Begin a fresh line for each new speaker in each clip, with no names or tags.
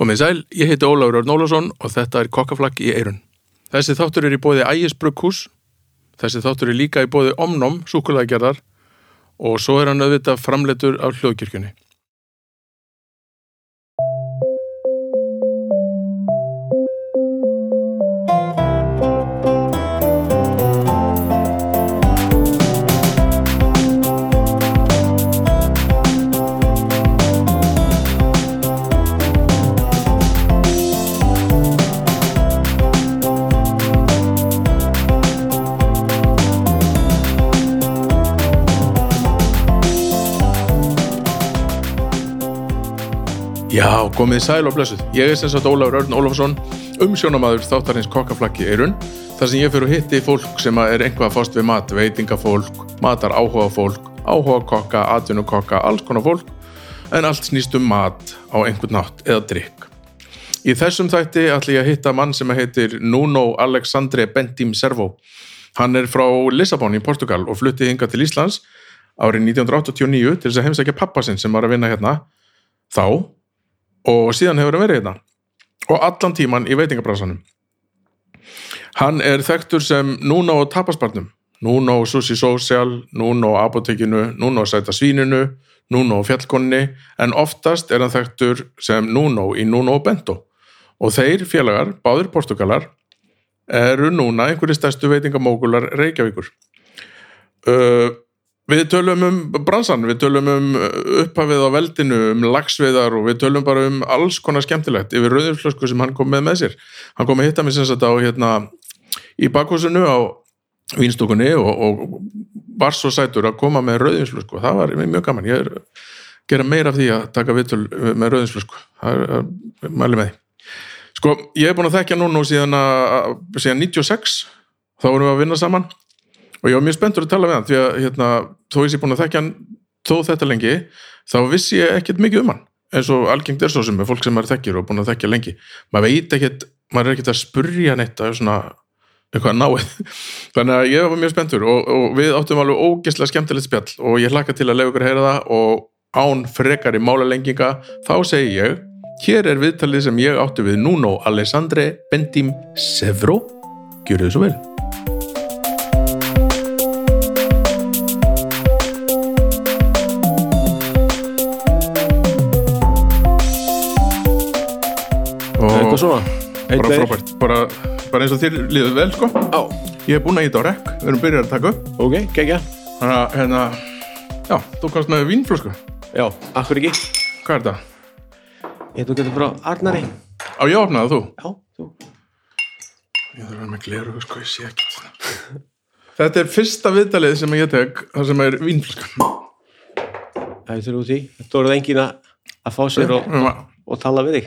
Komið sæl, ég heiti Ólafur Örn Ólafsson og þetta er kokkaflakk í eirun. Þessi þáttur er í bóði Ægis Brugghús, þessi þáttur er líka í bóði Omnom, súkulæðgerðar og svo er hann auðvitað framleitur af hljóðkirkjunni. Já, komið sæl og blessuð. Ég er sem sagt Ólafur Örn Ólafsson, umsjónamaður þáttarins kokkaflakki eirun, þar sem ég fyrir að hitti fólk sem er einhvað að fást við mat, veitingafólk, matar áhuga fólk, áhuga kokka, atvinnukokka, alls konar fólk, en allt snýst um mat á einhvern nátt eða drikk. Í þessum þætti ætli ég að hitta mann sem heitir Nuno Alexandre Bentim Servo. Hann er frá Lissabon í Portugal og flutti hinga til Íslands árið 1989 til þess að heimsækja pappa sinn sem var að vinna hérna þá og síðan hefur hann verið hérna og allan tíman í veitingabransanum. Hann er þekktur sem Nuno tapasbarnum, Nuno Sushi Social, Nuno Apotekinu, Nuno Sæta Svíninu, Nuno Fjallkonni en oftast er hann þekktur sem Nuno í Nuno Bento og þeir félagar, báðir portugalar, eru núna einhverju stærstu veitingamókular Reykjavíkur. Uh, Við tölum um bransan, við tölum um upphafið á veldinu, um lagsviðar og við tölum bara um alls konar skemmtilegt yfir rauðurflösku sem hann kom með með sér. Hann kom að hitta mig sem sagt á hérna í bakhúsinu á vinstokunni og, og var svo sætur að koma með rauðurflösku. Það var mjög gaman, ég er að gera meira af því að taka viðtöl með rauðurflösku, það er að mæli með því. Sko, ég hef búin að þekkja núna og síðan, að, síðan 96, þá vorum við að vinna saman og ég var mjög spenntur að tala við hann því að hérna, þó ég sé búin að þekkja hann þó þetta lengi, þá vissi ég ekkert mikið um hann eins og algengt er svo sem er fólk sem maður þekkir og búin að þekkja lengi maður veit ekkert, maður er ekkert að spurja neitt að svona eitthvað náið þannig að ég var mjög spenntur og, og við áttum alveg ógeðslega skemmtilegt spjall og ég hlakka til að leiða ykkur að heyra það og án frekari mála lenginga þá segi ég, hér er viðtalið sem ég átti við Nuno Alessandre Bendim Sevro Gjörðu þið svo vel
Eitthvað svona Eitt
bara
leir.
frábært, bara, bara eins og þér líður vel sko
Já,
ég er búinn að íta á rekk, við erum byrjað að taka upp
ok, gegja
þannig að hérna, já, þú komst með vínflösku
Já, akkur ekki
hvað er þetta?
Ég þú getur frá Arnari Já,
á ég opnaði þú?
þú
ég þarf að vera með gleru, sko, ég sé ekkert þetta er fyrsta viðtalið sem ég tek það sem er vínflöskan
Það er út í Þú eruð engin að, að fá sér og,
Við erum að-
og tala við þig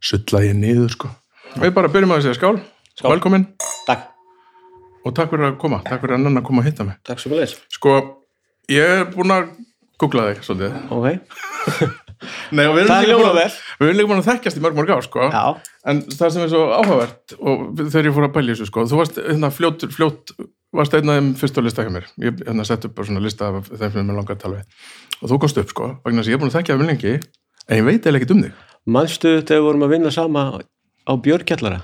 sulla ég niður sko við bara byrjum að segja skál,
Skál.
velkomin
Takk
og takk fyrir að koma, takk fyrir að nanna koma að hitta mig
Takk svo með þess
sko, ég er búinn að googla þig svolítið
Ok
Nei, og við erum
Það
líka
hljómar
búin
vel.
að- við erum líka búin að þekkjast í mörg mörg ár sko.
Já.
en það sem er svo áhugavert og þegar ég fór að pæla í þessu sko, þú varst hérna, fljótt, fljótt varst einn af þeim fyrst á lista hjá mér ég hérna, sett upp bara svona lista af þeim sem ég langar að tala við og þú komst upp sko, vegna þess að ég er búin að þekkja það mjög lengi en ég veit eða ekkert um þig
Manstu þegar við vorum að vinna sama á Björkjallara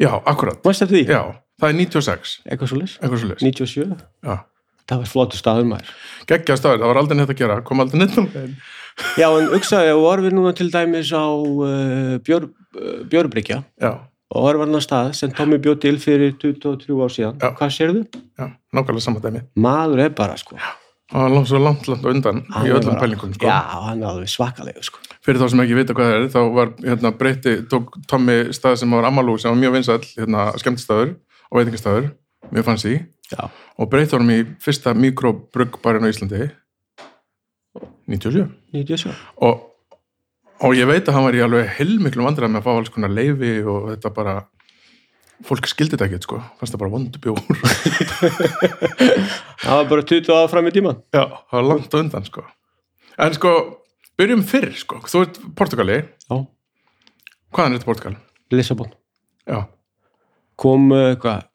já, akkurat,
Manstu eftir því?
já, það er 96
Eitthvað svo leys
eitthvað svo leis
97 Það var flottu staður maður
geggja staður, það var aldrei neitt að gera, kom aldrei neitt um þeim
Já, en hugsaði að vorum við núna til dæmis á uh, Björ, uh, Björbrikja
já,
og var varna stað sem Tommy bjóð til fyrir 23 ár síðan
Já.
Hvað sérðu?
já, nákvæmlega saman dæmi
Maður er bara sko
og hann langt svo langt, langt á undan
Hann
í
er
öllum
bara-
pælingum sko.
Já, hann er alveg svakalegu sko.
fyrir þá sem ekki vita hvað það er þá var hérna breytti, tók Tommy stað sem var Amalú sem var mjög vinsall hérna skemmtistæður og veitingastæður mjög fanns í
Já.
og breytti honum í fyrsta mikrobrugbarinn á Íslandi 97
97.
og, og ég veit að hann var í alveg heilmiklu vandræð með að fá alls konar leifi og þetta bara fólk skildi þetta ekkert sko, fannst það bara vondubjór
Það var bara 20 ára fram í tíman.
já, það var langt á undan sko en sko, byrjum fyrr sko þú ert Portugali,
Já.
hvaðan er þetta Portugal?
Lissabon.
já,
Kom, uh, hvað,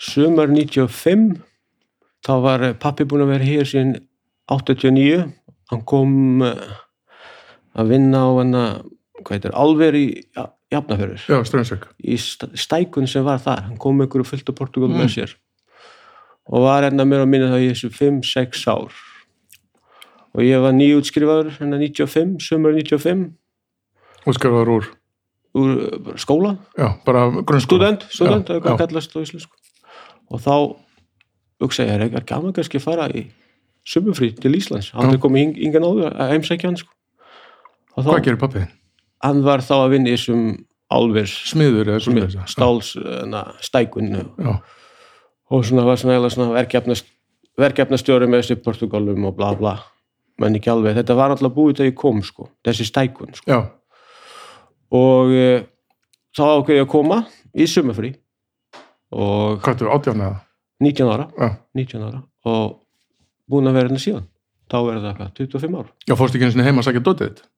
Sumar 95, þá var eh, pappi búinn að vera hér síðan 89. Hann kom eh, að vinna á hana, hvað heitir, alver í Jafnafjörður,
já, strömsök
í st- stækun sem var þar. Hann kom með einhverju fullt af Portugal
Mm.
með sér og var hérna mér að minna það í þessu 5-6 ár. Og ég var nýjútskrifaður hérna 95, sumar 95,
útskrifaður úr,
úr eh, bara skóla.
já, bara grunnskóla
student, student,
Já,
eða hvað
já.
kallast á íslensku og þá hugsa ég, er eitthvað gaman kannski að fara í sumufrí til Íslands, hann er komið yngan áður að heimsækja hann sko. og
hvað
þá,
gerir pappið?
hann var þá að vinna í þessum álvers
smiður eða svoleiðis, já.
stáls na, stækun uh,
já,
og svona var svona, eiginlega svona verkefnast verkefnastjóri með þessi Portugalum og bla bla menn ekki alveg, þetta var alltaf búið þegar ég kom sko, þessi stækun sko.
já,
og e, þá ákveði ég að koma í sumufrí og
hvað þú átján eða
19 ára
já,
19 ára og búin að vera hérna síðan þá verður það hvað, 25 ára
já fórst ekki einu sinni heima að sækja dótið þitt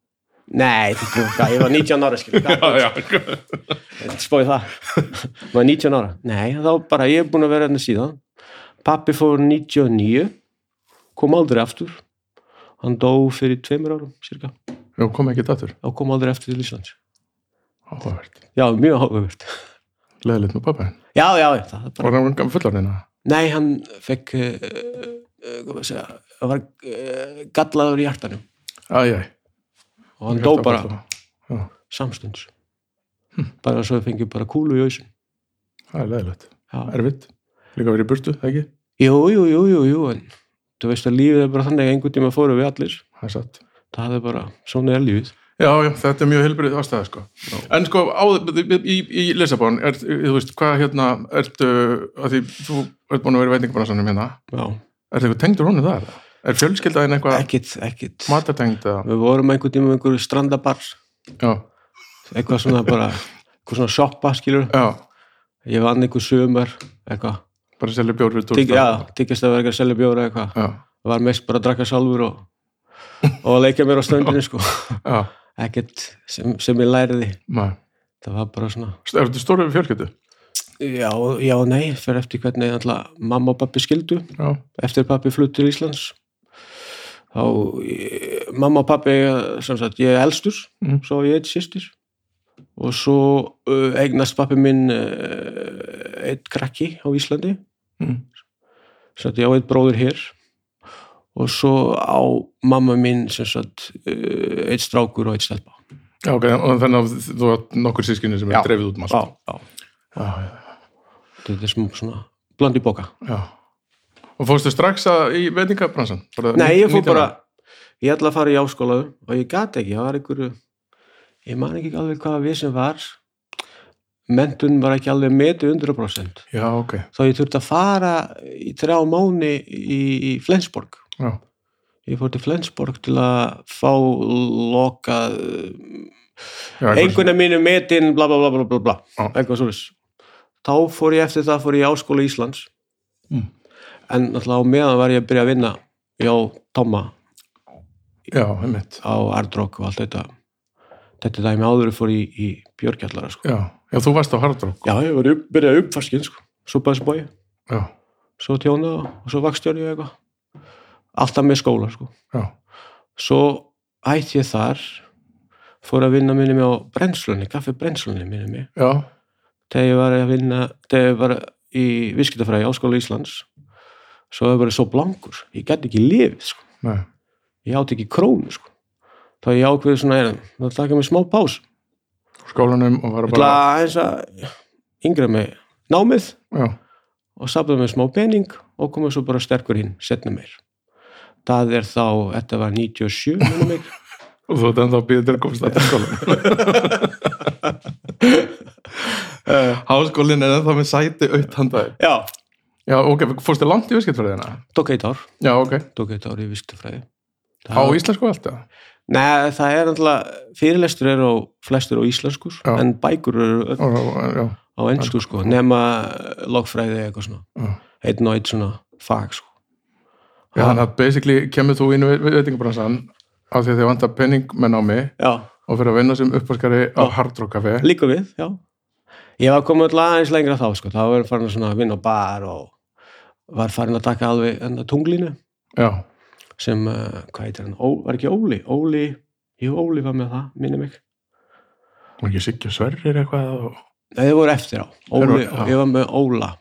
Nei, þetta er hvað, ég var 19 ára skil
já,
spóið það maður 19 ára, nei, þá bara ég er búin að vera hérna síðan pappi fór 99 kom aldrei aftur hann dó fyrir tveimur árum cirka,
já, kom ekki dættur,
og kom aldrei aftur til Íslands
áhugavert
já, mjög áhugavert
leðilegt með pappið,
já, já, já, það er bara
var hérna. hann gaman fullarinn eða?
nei, hann fekk uh, uh, hvað maður að segja, hann var uh, gallaður í hjartanum
Æ, æ,
og hann dó bara
já,
samstunds bara svo við fengjum bara kúlu í ausin
það er leðilegt,
já.
erfitt líka verið í burtu, það ekki,
jú, jú, jú, jú, jú en þú veist að lífið er bara þannig að einhvern tíma fóru við allir
það er satt
það er bara, svona er lífið
Já, já, þetta er mjög helbrið ástæða, sko. En sko, á, í, í Lissabon, er, þú veist, hvað hérna, ertu, að því þú ert búin að vera í veitingabrannsanum hérna,
já,
er það eitthvað tengdur honum þar? Er fjölskyldaðin eitthvað
ekkit, ekkit
matartengd eða?
við vorum einhvern tíma með einhverju strandabar
Já,
eitthvað svona bara eitthvað svona shoppa, skilur
já,
ég vann einhver sömur, eitthvað
bara selja bjór fyrir
Tyk,
túrsta.
já, tyggist að vera ekki að selja bjóra eitthvað
já,
var mest bara að drakka sjálfur og, og að leika mér á stöndinu sko
já,
ekkert sem, sem ég læriði
maður.
það var bara svona
Er þetta stóru fjölskyldu?
Já, já, og nei, fyrir eftir hvernig alltaf mamma og pappi skildu,
Já,
eftir pappi flutt til Íslands þá ég, mamma og pappi sem sagt, ég er elstur
Mm.
svo á ég eitt sýstir og svo uh, eignast pappi minn uh, eitt krakki á Íslandi
mm.
sem sagt, ég á eitt bróður hér og svo á mamma mín sem sagt, uh, eitt strákur og eitt stelpa
já ok, og þannig að þú átt nokkur sískinni sem
Já.
er dreifið út
já,
maður.
já,
Já, já,
þetta er smá svona blandi bóka
já. Og fórstu strax að, í veitingabransan?
Nei, ég fór bara, ég ætla að fara í áskóla og ég gat ekki, það var einhverju, ég man ekki alveg hvað við sem var, mentun var ekki alveg metið 100%.
Já, ok,
Þá ég þurfti að fara í þrjá mánu í, í Flensborg.
já.
Ég fór til Flensborg til að fá lokað,
Já, eitthvað-
einhverna mínu metin, bla bla bla bla bla bla,
Já.
eitthvað svoleiðis. Þá fór ég eftir það, fór ég í áskóla Íslands,
Mm.
en náttúrulega á meðan var ég að byrja að vinna hjá Tomma
Já, einmitt.
á Hard Rock og allt þetta þetta dæmi áður en ég fór í, í Björkjallara sko.
Já, já, þú varst á Hardrock.
já, ég var upp, byrjaði uppfarskinn sko. svo bæðisbói,
Já,
svo tjóna og svo vakstjóri og eitthvað alltaf með skóla sko.
já,
svo ætti ég þar fór að vinna minni mig á brennslunni kaffi brennslunni minni mig
já,
þegar ég var að vinna þegar ég var í viskitafræði áskóla Íslands svo það var ég svo blankur ég gæti ekki lifið sko.
nei,
ég átti ekki krónu sko. þá ég ákveði svona er, það taka mig smá pás
úr skólanum og var
Ég ætla
bara,
aðeins að yngra mig námið
já,
og safna mig smá pening og koma svo bara sterkur hinn, setna meir. Það er þá, þetta var 97, minnum mig.
og þú ert ennþá að býða til að komast þetta skólanum. Háskólinn er ennþá með sæti auðtandaði.
Já.
Já, ok, fórstu langt í viðskiptfræðina?
Tók eitt ár,
Já, ok,
tók eitt ár í vistafræði.
á íslensku allt, já.
Nei, það er alltaf, fyrirlestur er á flestur á íslenskur,
Já.
en bækur eru öll
Ó, Já,
á ennsku, sko, nema lokfræði eitthvað svona.
já, já.
Einn og eitt svona fag, sko.
Já, þannig að basically kemur þú inn í veitingabransan af því að þið vantar pening með námi
Já,
og fyrir að vinna sem uppvaskari á Hardrock Café.
líka við, já. ég var komið alltaf aðeins lengra þá sko. þá var ég farin að svona vinna á bar og var farin að taka alveg hérna, tunglinu
já,
sem, uh, hvað heitir hann, Ó, var ekki Óli Óli, jú Óli var með það minni mig,
og ekki Siggi Sverrir eitthvað og...
Nei, þau voru eftir á Óli,
Þeir voru- já.
ég var með Óla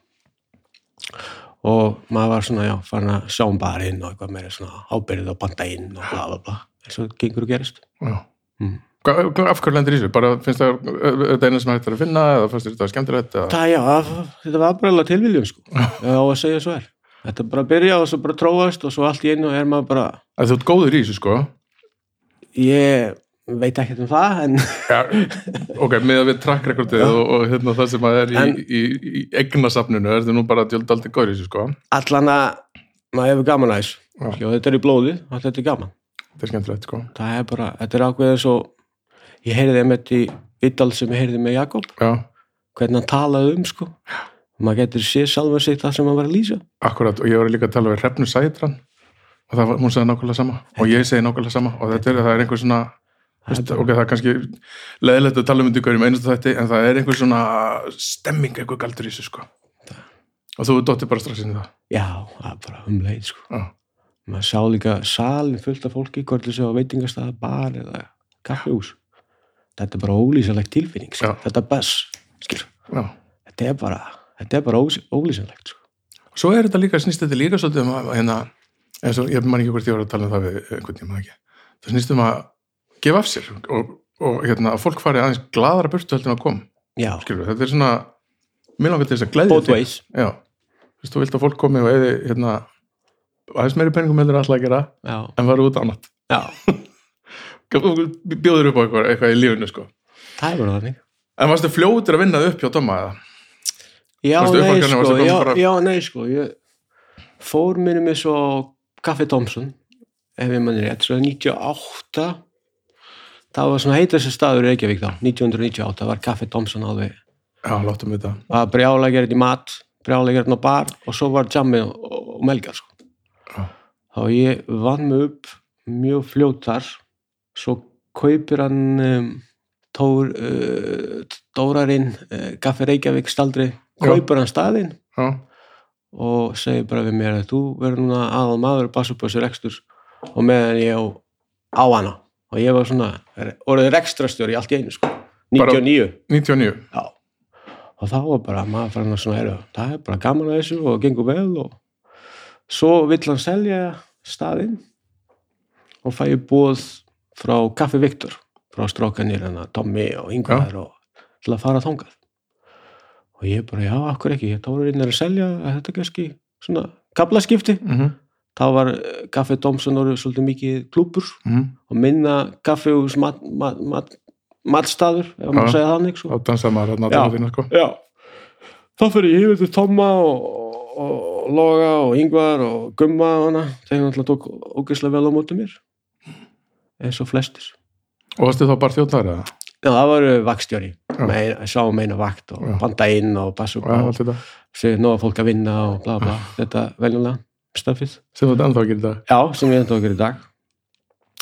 og maður var svona já, farin að sjá um barinn og eitthvað meira svona ábyrðið og banda inn og bla bla bla eins og gengur og gerist
já
Mm.
Hva, af hverju lendir í þessu? Bara finnst það þetta eina sem hægt er að finna eða fannst þér þetta skemmtilegt eða...
Það, já, það- þetta var bara alveg tilviljum, sko. Já, og að segja svo er. Þetta bara byrja og svo bara tróast og svo allt í einu er maður bara,
að þú ert góður í þessu sko
ég veit ekkert um það, en
Já, ok, með að við track recordið og, og hérna, það sem að er í,
En-
í, í eignasafninu er þetta nú bara djölda aldrei góður í þessu sko
allan að maður hefur gaman að þessu.
Já.
Já, þetta er í blóði, allt þetta er gaman.
þetta er skemmtilegt sko
Það er bara, þetta er ákveðið svo, ég heyrði einmitt í Vidal sem ég heyrði með Jakob,
já,
hvernig hann talaði um, sko. Maður getur séð sjálfur sig það sem hann var að lýsa.
akkurat og ég var líka að tala við Hrefnu Sætran og það var, hún sagði nákvæmlega sama og ég segi nákvæmlega sama og þetta er, það er einhver svona
Það er
veist, ok, það er kannski leðilegt að tala um þetta í hverjum einasta þætti en það er einhver svona stemming einhver galdur í þessu sko og þú dottir bara strax inn í það
Já, það er bara um leið, sko.
já,
maður sá líka salin fullt af fólki hvort þessu á veitingastæða, bar eða kaffehús þetta er bara ólýsanlegt tilfinning sko.
Já.
þetta er bass skilur.
já.
þetta er bara, þetta er bara ós- ólýsanlegt sko.
Svo er þetta líka, snýst þetta líka svolítið um að, hérna, eins og ég man ekki hvort ég var að tala um það við einhvern tíma ekki. Það snýst um að gefa af sér og, og hérna, að fólk fari aðeins gladara burtu heldur en að kom.
já,
Skilur, þetta er svona, mér langar til þess að glæði
both ways
Já, þú veist, þú vilt að fólk komi og eði, hérna, aðeins meiri peningum heldur en alltaf að gera,
já,
en fara út annað.
já,
Bjóður upp á eitthvað, eitthvað í lífinu, sko.
það er bara þannig
En varstu fljótur að vinna þig upp hjá Dóma eða?
já,
Varstu
nei,
uppvaknaður, varstu
sko,
komin
já,
bara-
já, nei, sko ég fór minni með svo Kaffi Thompson ef ég manni rétt, svo 98 það var svona heitast staður í Reykjavík þá, 1998 var Kaffi Thompson alveg
Já, láttum við þetta.
að brjála gerðin í mat brjála gerðin á bar og svo var jammi og, og melgar sko.
Já.
þá ég vann mig upp mjög fljótar svo kaupir hann um, tór, uh, Dórarinn uh, Gaffi Reykjavík staldri kaupir hann staðinn
Já,
og segir bara við mér að þú verður núna aðal maður bassupössu rekstur og meðan ég á, á hana og ég var svona orðið rekstrastjóri allt í einu sko,
Bara-
99
99.
Já. Og þá var bara maður farin að svona, heru, það er bara gaman að þessu og gengur vel og svo vill hann selja staðinn og fæ ég búið frá Kaffi Viktor, frá strókanir hann að Tommy og Ingvar og til að fara þangað. Og ég bara, já, akkur ekki, ég tóra inn er að selja er þetta kannski svona kaplaskipti.
Mm -hmm.
Þá var eh, Kaffi Dómsson orðið svolítið mikið klúpur
Mhm.
og minna kaffihús mat, mat, mat, matstaður, ef maður
Já.
segja þannig. Svo.
Þá dansaði maður að
Já.
náttúrulega þína, sko.
Já, þá fyrir ég yfir til Tomma og, og, og Loga og Yngvar og Gumma og hana. Þeir náttúrulega tók ógeðslega vel á móti mér. Eins og flestir.
Og varstu þá bara þjóttnari eða?
Já, það var uh, vakstjóri.
Já.
Með, sá meina um vakt og
Já.
banda inn og passa upp
Já, Ah. allt
og
þetta.
segja nóga fólk að vinna og bla bla. Þetta veljulega stöfið.
Sem þú þetta ennþá að gera í dag.
Já, sem ég enda okkur í dag.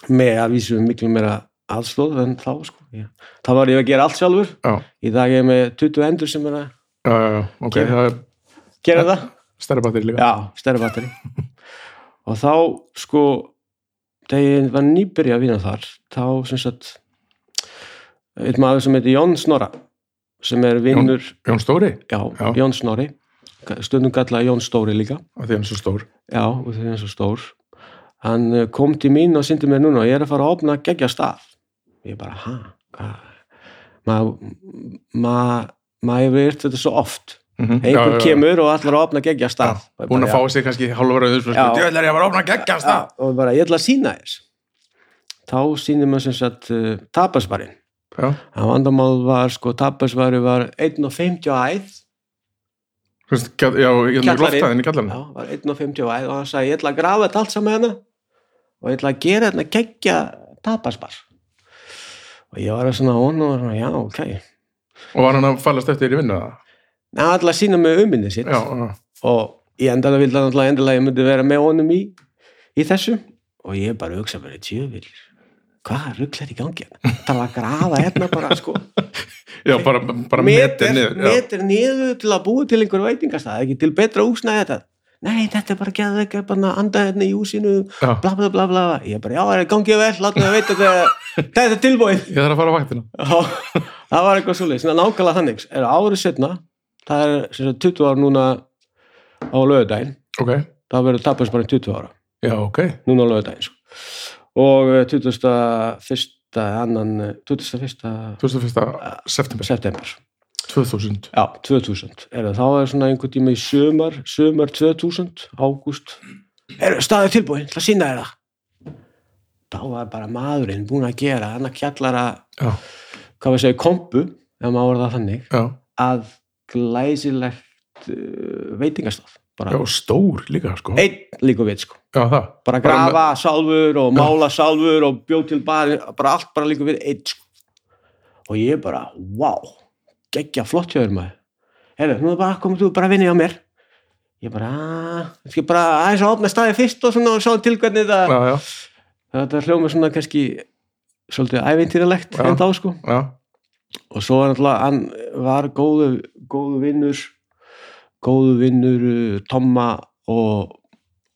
Með að vísu miklu meira aðstóð en þá sko. Já. Þá var ég að gera allt sjálfur.
Já,
Í dag er ég með 20 endur sem er að
já, já, já, ok,
Gera.
það er
gera það.
stærra battir líka.
Já, stærri batteri. og þá, sko, þegar ég var nýbyrja að vinna þar, þá, sem sagt, einn maður sem heitir Jón Snorra, sem er vinnur,
Jón Stóri,
já,
Já.
Jón Snorri, stundum kallaði Jón Stóri líka,
af því hann er svo stór.
já, og þegar hann er svo stór, hann eh, kom til mín og syndi mér núna, ég er að fara að opna geggja stað. Ég bara, ha, hvað? Maður, maður, maður hefur yrt þetta svo oft.
Mm -hmm.
Einhver kemur og allar að opna geggja stað. Og ég
Búin
bara,
að
já.
fá sig kannski halvara auðvitað,
Já.
sko, djöðlar ég var ofna að geggjast
Já,
það.
og bara ég ætla að sína þér þá sínir maður sem sagt uh, tapasvarinn
Já,
að vandamál var sko tapasvari var 1.50 á æð
Þú veist, gat- já, ég er
Kjallarinn.
loftaðin í kallarinn.
já, var 1.50 á æð og hann sagði ég ætla að grafa þetta allt saman hérna og ég ætla að gera þetta geggja tapasvar og ég var að svona hún og var svona já ok
Og var hann að fallast eftir þér í vinnu það?
Nei, hann ætla að sína mig uminni sitt
Já, já,
og ég endaði vildi hann endaði að ég myndi vera með honum í, í þessu og ég bara hugsa bara tjöfil hvað rugl er í gangi hérna? Það var að grafa hérna bara, sko,
Já, bara, bara metir niður. já.
metir niður til að búa til einhver veitingastað, ekki til betra úsnaði þetta. Nei, þetta er bara geðið ekki, bara anda hérna í húsinu,
Já.
bla bla bla bla. Ég bara, já, það er gangið vel, látum við að veita þetta, þetta er tilbúið.
Ég þarf að fara á vaktina.
Já, það var eitthvað svolítið, svona nákvæmlega þannig. Er árið setna, það er sem sagt, 20 ára núna á lögudaginn,
Ok,
það verður tapast bara 20 ára,
já, ok.
núna á lögudaginn. Sko. Og eh, 21. annan, eh, 21.
21. september
september,
2000.
já, 2000. Er það þá er svona einhvern tíma í sömar, sömar 2000, ágúst. Er staðið tilbúin, það sína er það. Þá var bara maðurinn búin að gera, hann að kjallara,
Já,
hvað við segja, kompu, ef maður orða það þannig.
já,
að glæsilegt uh, veitingastaf bara
já, stór líka, sko.
einn líka við sko
Já, það.
bara
Bara
grafa sálfur og mála sálfur og bjóð til bar, bara allt bara líka við einn sko og ég bara, wow geggja flott hjá þér maður hefur, nú er bara komið þú bara að vinna hjá mér ég bara, "Ah, ég bara aðeins að opna staði fyrst og svona og sjá til hvernig það
Já, já,
þetta hljóma svona kannski svolítið ævintýralegt
Já.
en þá sko
já,
og svo var náttúrulega hann var góðu, góðu vinnur góðu vinnur uh, Tomma og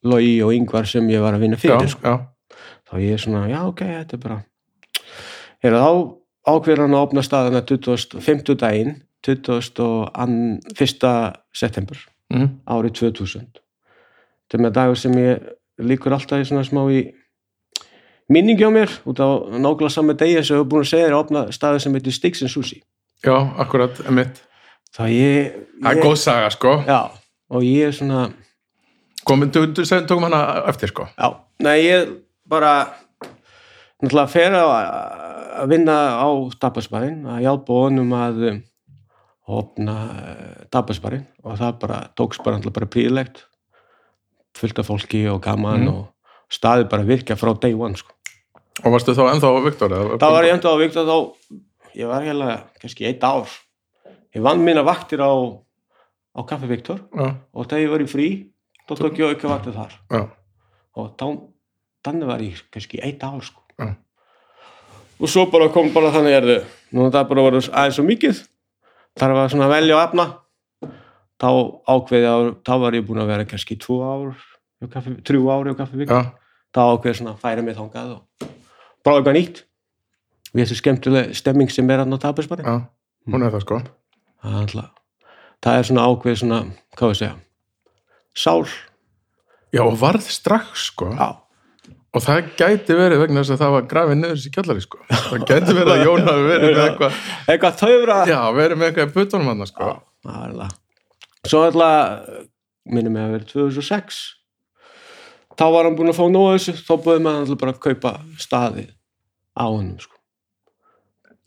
Logi og Yngvar sem ég var að vinna
já,
fyrir sko.
já,
þá ég er svona, já ok, þetta er bara er þá ákveður hann að opna staðana 25. daginn 21. september
mm,
árið 2000 þetta er með dagur sem ég líkur alltaf í svona smá í minningi á mér út á nákvæmlega samme degi sem við erum búin að segja er að opna staði sem heitir Sticks and Sushi
já, akkurat, emitt.
þá ég,
Það er
ég
góð saga, sko.
já, og ég er svona
Komum, tö- tö- sem- tökum hana eftir, sko.
já, nei ég bara náttúrulega fer að, að vinna á dabasbarinn að hjálpa honum að um, opna dabasbarinn og það bara tókst bara, náttúrulega bara príðilegt fullt af fólki og gaman
Mm.
og staði bara að virka frá day one sko.
Og varstu þá ennþá Viktor? eða-
þá var ég enda á vikta þá ég var hérna kannski eitt ár ég vann minna vaktir á á Kaffi Viktor
Já,
og þegar ég var í frí þá tók ég auka vaktir þar
já,
og þá, þannig var ég kannski eitt ár sko.
Já.
og svo bara kom bara þannig er þau nú það bara var aðeins svo mikið þar var svona að velja og efna þá ákveði ár, þá var ég búin að vera kannski tvo ár hjá kaffi, þrjú ár hjá kaffi vik
já,
þá ákveði svona að færa mig þangað og bara eitthvað nýtt við þessu skemmtileg stemming sem er að á tapisbari
já. Hún er það, sko.
það er alltaf það er svona ákveði svona, hvað við segja sál,
Já, og varð strax, sko.
já,
Og það gæti verið vegna þess að það var grafið niður þessi kjallari, sko. Það gæti verið að Jón hafi verið með eitthvað,
eitthvað þaufra
já, verið með eitthvað í putunum hann, sko.
það var alveg svo alltaf, minnum ég að vera 2006 þá var hann búin að fá nóg af þessu, þá búið maður alltaf bara að kaupa staði á honum sko.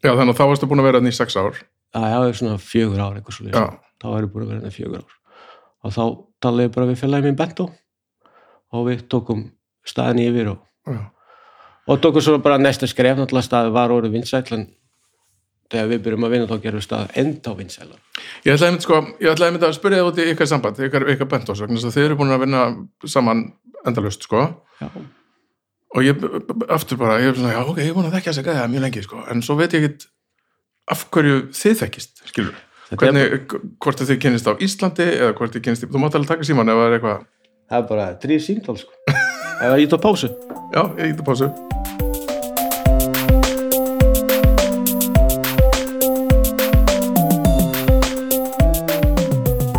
Já, þannig að þá varstu búin að vera þannig í sex ár.
það er svona fjögur ár eitthvað svo
Já,
þá er ég búin að vera hérna í fjögur ár og þá talaði ég bara við félagið minn Bento og við tókum staðin yfir og,
já,
og tókum svo bara næsta skref náttúrulega staði var orðið vinsætlan þegar við byrjum að vinna þá gerum við staði enda vinsætlan
Ég ætlaði einmitt, sko, ég ætlaði einmitt að spyrja það út í ykkar samband, ykkar, ykkar bentos, vegna þess að þið eru búin að vinna saman endalust, sko.
já,
Og ég, aftur bara, ég er svona, já, ok, ég er búin að þekka þess að gæða mjög lengi, sko. En svo veit ég ekkit af hverju þið þekkist, skilur.
Þetta er
Hvernig, hvort þið kynnist á Íslandi eða hvort þið kynnist, í- þú mátt alveg taka síman ef það er eitthvað,
það er bara drýð símtál sko eða ég tók pásu
já, ég geta pásu.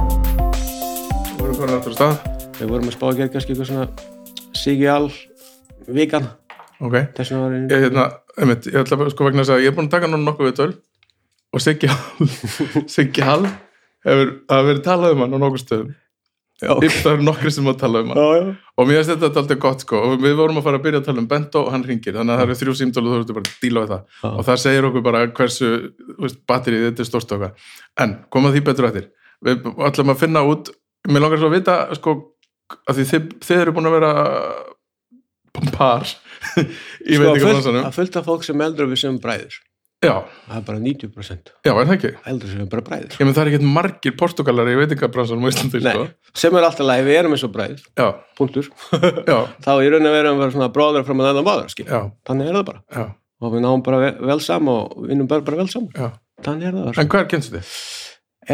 Við erum komin aftur á stað,
Við vorum að spá að gera kannski eitthvað svona Sigjál vikan
ok.
þess vegna var
ég,
einu
hérna, einmitt, ég ætla bara, sko vegna þess að ég er búin að taka núna nokkuð viðtöl og Siggi Hall Siggi Hall hefur það hefur verið talað um hann á nokkuð stöðum okay. það eru nokkri sem að tala um hann
já,
og mér finnst þetta alltaf gott sko og við vorum að fara að byrja að tala um Bento og hann ringir þannig að það eru þrjú símtöl og þú ertu bara að díla við það
Já.
og það segir okkur bara hversu þú veist, batterið þetta er stórst okkar en koma því betur eftir við ætlum að finna út mér langar svo að vita sko að því þið, þið eru búin að vera par í
Sko,
veitingabransanum Sko,
fullt, að fullt af fólk sem eldur við sem bræður
Já,
það er bara 90%
já, er það ekki?
heldur sem er bara bræður
Ég menn það er ekkert margir portugalar í veitingabransanum á Íslandi, sko.
Nei, sem er alltaf læg, við erum eins og bræður
Já,
punktur,
já,
þá í raun að vera að vera svona bróður fram að annan báður, skil
já,
þannig er það bara,
já,
og við náum bara ve- vel saman og vinnum bara, bara vel saman
já.
þannig er það bara,
En hvað er kynstu þið?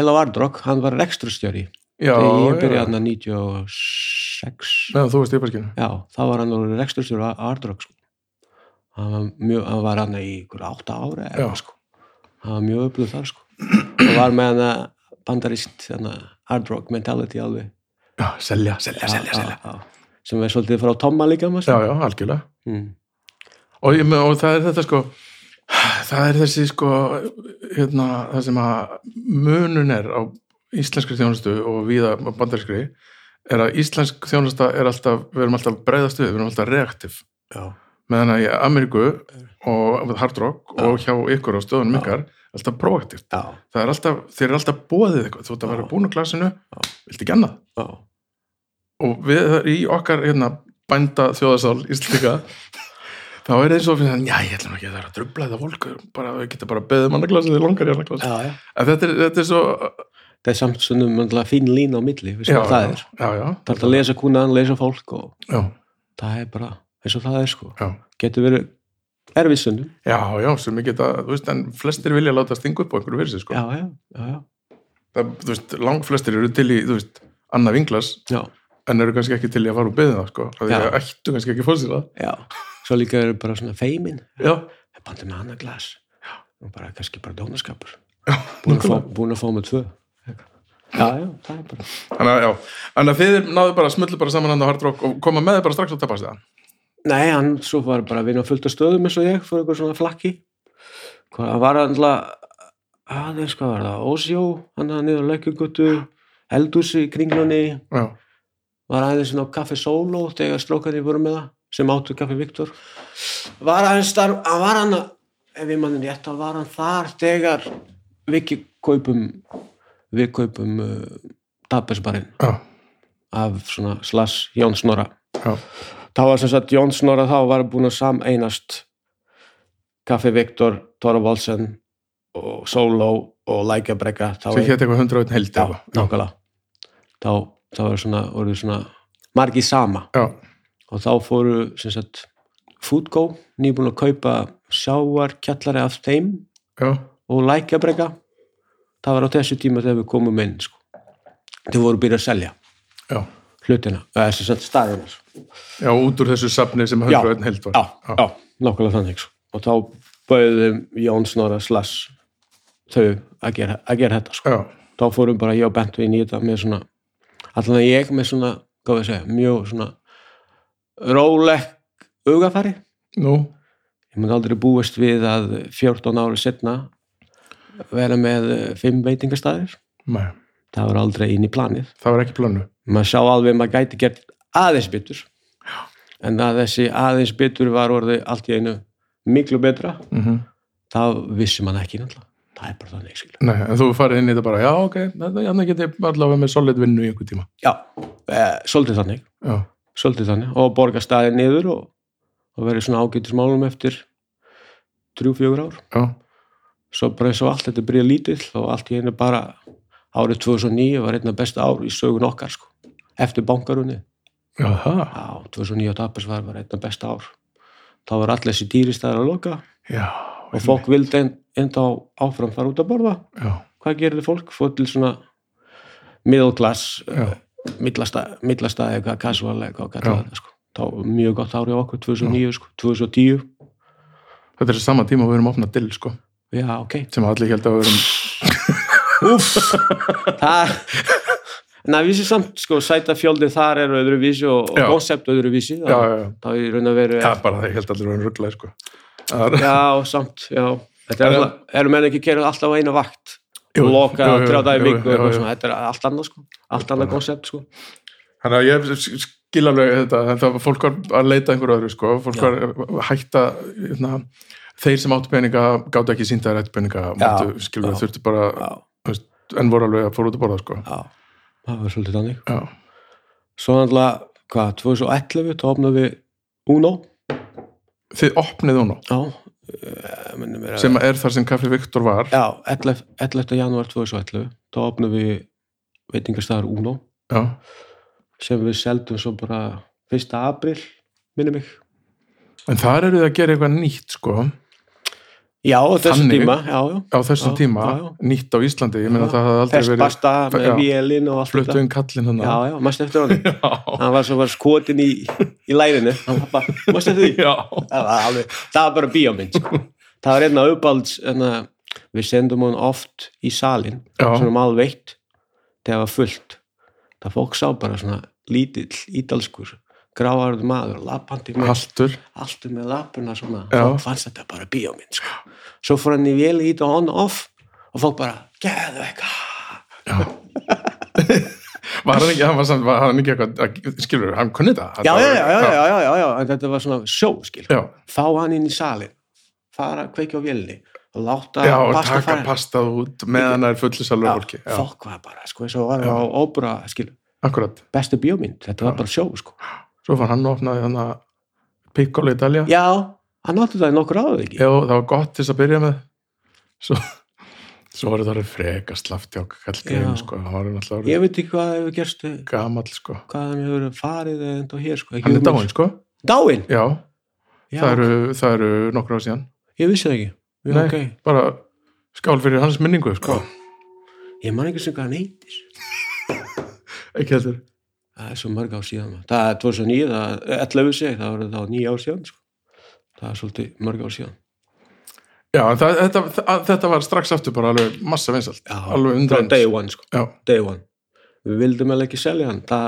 Ella Vardrock, hann var rekstrastjóri
Já,
þegar ég byrjaði
já.
hann 96
Meðan þú veist yfirskinu.
já, þá var hann orðið rekstrastjóri á Vardrock sko. hann var mjög, hann var hann í ykkur átta ára eða,
Já.
eitthvað, sko. hann var mjög upplöð þar sko. og var með hann að bandarist Vardrock mentality alveg
Já, selja, selja,
Já, já, já. sem er svolítið frá Tomma líka maður.
Já, já, algjörlega.
Mm.
og, ég, með- og það er þetta sko það er þessi sko hérna, það sem að munun er á íslenskri þjónustu og viða bandarskri er að íslensk þjónusta er alltaf við erum alltaf breyðast við, við erum alltaf reaktiv
Já.
meðan að í Ameríku og Hard Rock og hjá ykkur á stöðunum
Já.
ykkar alltaf proaktivt,
Já,
það er alltaf þeir eru alltaf bóðið eitthvað, þú ert að
Já.
vera búin á glasinu viltu ekki annað
já,
og við í okkar hérna, bænda þjóðasál íslika þá er eins og fyrir þannig já, ég ætlum ekki að það er að drubla eða volk bara, við getum bara um að beða manna glasi þegar langar í annar glasi
já, já.
en þetta er, þetta er svo
Það er samt svona mjöndlega fín lína á milli, við
já,
sem það er.
já, já,
Það er að lesa kúnaðan, lesa fólk og
já,
það er bara eins og það er sko.
já.
Getur verið erfiðsöndum.
Já, já, sem ég geta, þú veist, en flestir vilja láta stinga upp á einhverju fyrir sig, sko.
Já, já, já, já.
Það, þú veist, langflestir eru til í, þú veist, annað vinglas,
Já,
en eru kannski ekki til í að fara og beða það, sko. Það
Já.
er ættu kannski ekki að fóra sér það.
já. Svo líka eru bara svona feimin.
Já,
Það bandi með annað glas. Já. Og bara kannski bara dónaskapur. Búin að fá,
nákvæmlega.
búin að fá með tvö. Já, já, það er bara.
Þannig að, já, en að þið náðu bara, smullu bara saman hann á hardrock og koma með þið bara strax á tapast það.
Nei, hann svo var bara að vinna á fullt af stöðum eins og ég, fór eitthvað svona flakki. Hvað, hann var alltaf, aðeins, hvað var það, Ósjó, hann að niður lökjugötu, eldúsi í kringlunni,
Já,
var aðeins inn á Kaffi Solo þegar strókarnir voru með það, sem áttu Kaffi Viktor. Var aðeins þar, hann var hann, að- ef ég mann rétt, hann var hann þar þegar við ekki kaupum, við kaupum uh, tapesbarinn
já,
af svona slass Jón Snorra.
já.
þá var sem sagt Jón Snorra þá var búin að sameinast Kaffi Viktor, Tóra Volsen og Solo og Lækjabrekka þá
sem hétt eitthvað 101 held
já,
eitthvað.
nákvæmlega þá, þá var svona, voru svona margi sama
já,
og þá fóru sem sagt Foodgo, nýbúin að kaupa sjáarkjallari af þeim
já,
og Lækjabrekka það var á þessu tíma þegar við komum inn sko. þau voru byrjað að selja
já,
hlutina, eða sem sagt staðina sko.
já, út úr þessu safni sem 101 held var
já, já, nákvæmlega þannig sko. og þá bauðum Jón Snorra slass þau að gera, að gera þetta sko.
já,
þá fórum bara ég og Bentu inn í þetta með svona allan að ég með svona, hvað við segja, mjög svona róleg hugafæri ég
nú,
mun aldrei búist við að 14 ári setna vera með eh, fimm veitingastæðir
nei,
það var aldrei inn í planið
það var ekki planu
maður sá alveg að maður gæti gert aðeins betur en að þessi aðeins betur var orðið allt í einu miklu betra
mm
það vissi mann ekki náttúrulega það er bara þannig skil
nei, en þú farið inn í þetta bara, já, ok þannig geti ég allavega með solid vinnu í einhver tíma
já, e, svolítið þannig
já,
svolítið þannig og borga staðið niður og, og verið svona ágætis málum eftir 3-4 ár
já,
svo bara eins og allt þetta byrja lítill og allt í einu bara árið 2009 var einna besta ár í sögun okkar sko eftir bankarunni
já, það
já, 2009 og Dabers var, var einna besta ár þá var allir þessi dýristæðar að loka
já,
og fólk vildi en- enda á- áfram fara út að borða
já,
hvað gerði fólk? Fór til svona middle class
já,
millasta millasta eða eitthvað casual eða eitthvað kallar
Já.
þetta sko. þá var mjög gott árið okkur 2009 sko, 2010
þetta er sama tíma og við erum opnað dill, sko,
já ok
sem allir held að við erum
það na, vissi samt sko sæta fjöldið þar er öðruvísi og,
Já.
og koncept öðruvísi
já,
þá
já, já,
þá er í raun að vera
það er bara það, ég held allir að við erum rugglaði, sko það er,
já samt já Þetta er
Já.
alltaf, eru menn ekki kerað alltaf á eina vakt
Jú,
og loka
jú, jú,
þrjá dag í
jú,
viku
jú,
og
jú.
svona, þetta er allt annað sko, allt annað koncept sko.
Þannig að ég skil alveg þetta, þetta var fólk var að leita einhverju öðru, sko, fólk
Já.
var að hætta, na, þeir sem áttu peninga gáttu ekki sínda þær eitt peninga, máttu, skilur við,
já.
þurftu bara,
Já,
þú veist, en voru alveg að fóra út að borða, sko.
já, það var svolítið þannig
Já,
Svo náttúrulega, hvað, 2011 þá opnaði við Uno
þið opnið hún á.
Já, eh, minnir mér að-
sem er þar sem Kaffi Viktor var
Já, 11. 11. janúar 2011 þá opnum við veitingastæðar Uno
já,
sem við seldum svo bara 1. april, minnum mig
en þar eru þið að gera eitthvað nýtt sko,
Já, á þessum
Þannig.
tíma já, já.
á þessum
Já,
tíma
já, já.
nýtt á Íslandi, ég meina
Já.
það hafði aldrei
Þess
verið
basta með
Já.
vélinn og allt
fluttu um kallinn hann
Já, já, mástu eftir honum
já,
hann var svo bara skotin í, í lærinu hann var bara, mástu eftir því
já.
það var, alveg, það var bara bíómynd sko. það var einna uppalds enna, við sendum hann oft í salin
Já.
svona malveitt þegar var fullt það fólk sá bara svona lítill, ídalskur gráarður maður, lappandi með
haltur
alltaf um með lappuna svona
Já.
fólk fannst þetta bara bíómynd sko. svo fór hann í vél í þetta on off og fólk bara, geðu eitthvað
var hann ekki, hann var, samt, var hann ekki eitthvað skilur, hann kunni það
já,
Þetta
já,
var-
já, já, já, já, já, já, en þetta var svona sjó, skil,
já.
fá hann inn í salin fara, kveikja á vélni og láta
já, og
pasta
taka
fara
pastað út meðan það er fullu salur af fólki já,
fólk var bara, sko, eins og var á óbra, skil,
akkurat,
bestu bíómynd þetta var bara sjó, sko.
svo fann hann og opnaði hann að piccolo í Italia
Já, hann átti það í nokkur áður ekki.
Já, það var gott til þess að byrja með svo, svo var þetta freka slaftjálk kallgrein,
Já.
sko, hann var náttúrulega orðinn
Ég veit ekki hvað hefur gerst,
gamall, sko
hvað hann hefur farið eða enda hér, sko.
Hann er dáin, sko,
Dáin?
já,
Já,
Það, eru, það eru nokkur á síðan
ég vissi það ekki. Já,
Nei.
ok.
bara skál fyrir hans minningu, sko
Ég man ekki sem hvað hann heitir.
ekki heldur,
Það er svo mörg ár síðan. maður. Það er 2009, það er 11 seg, það voru þá nýja ár síðan, sko. Það er svolítið mörg ár síðan.
já, en það, þetta, það, þetta var strax aftur bara alveg massa vinsalt
Já,
alveg
Frá
undreins
day one, sko.
já,
Day one. Við vildum alveg ekki selja hann. Það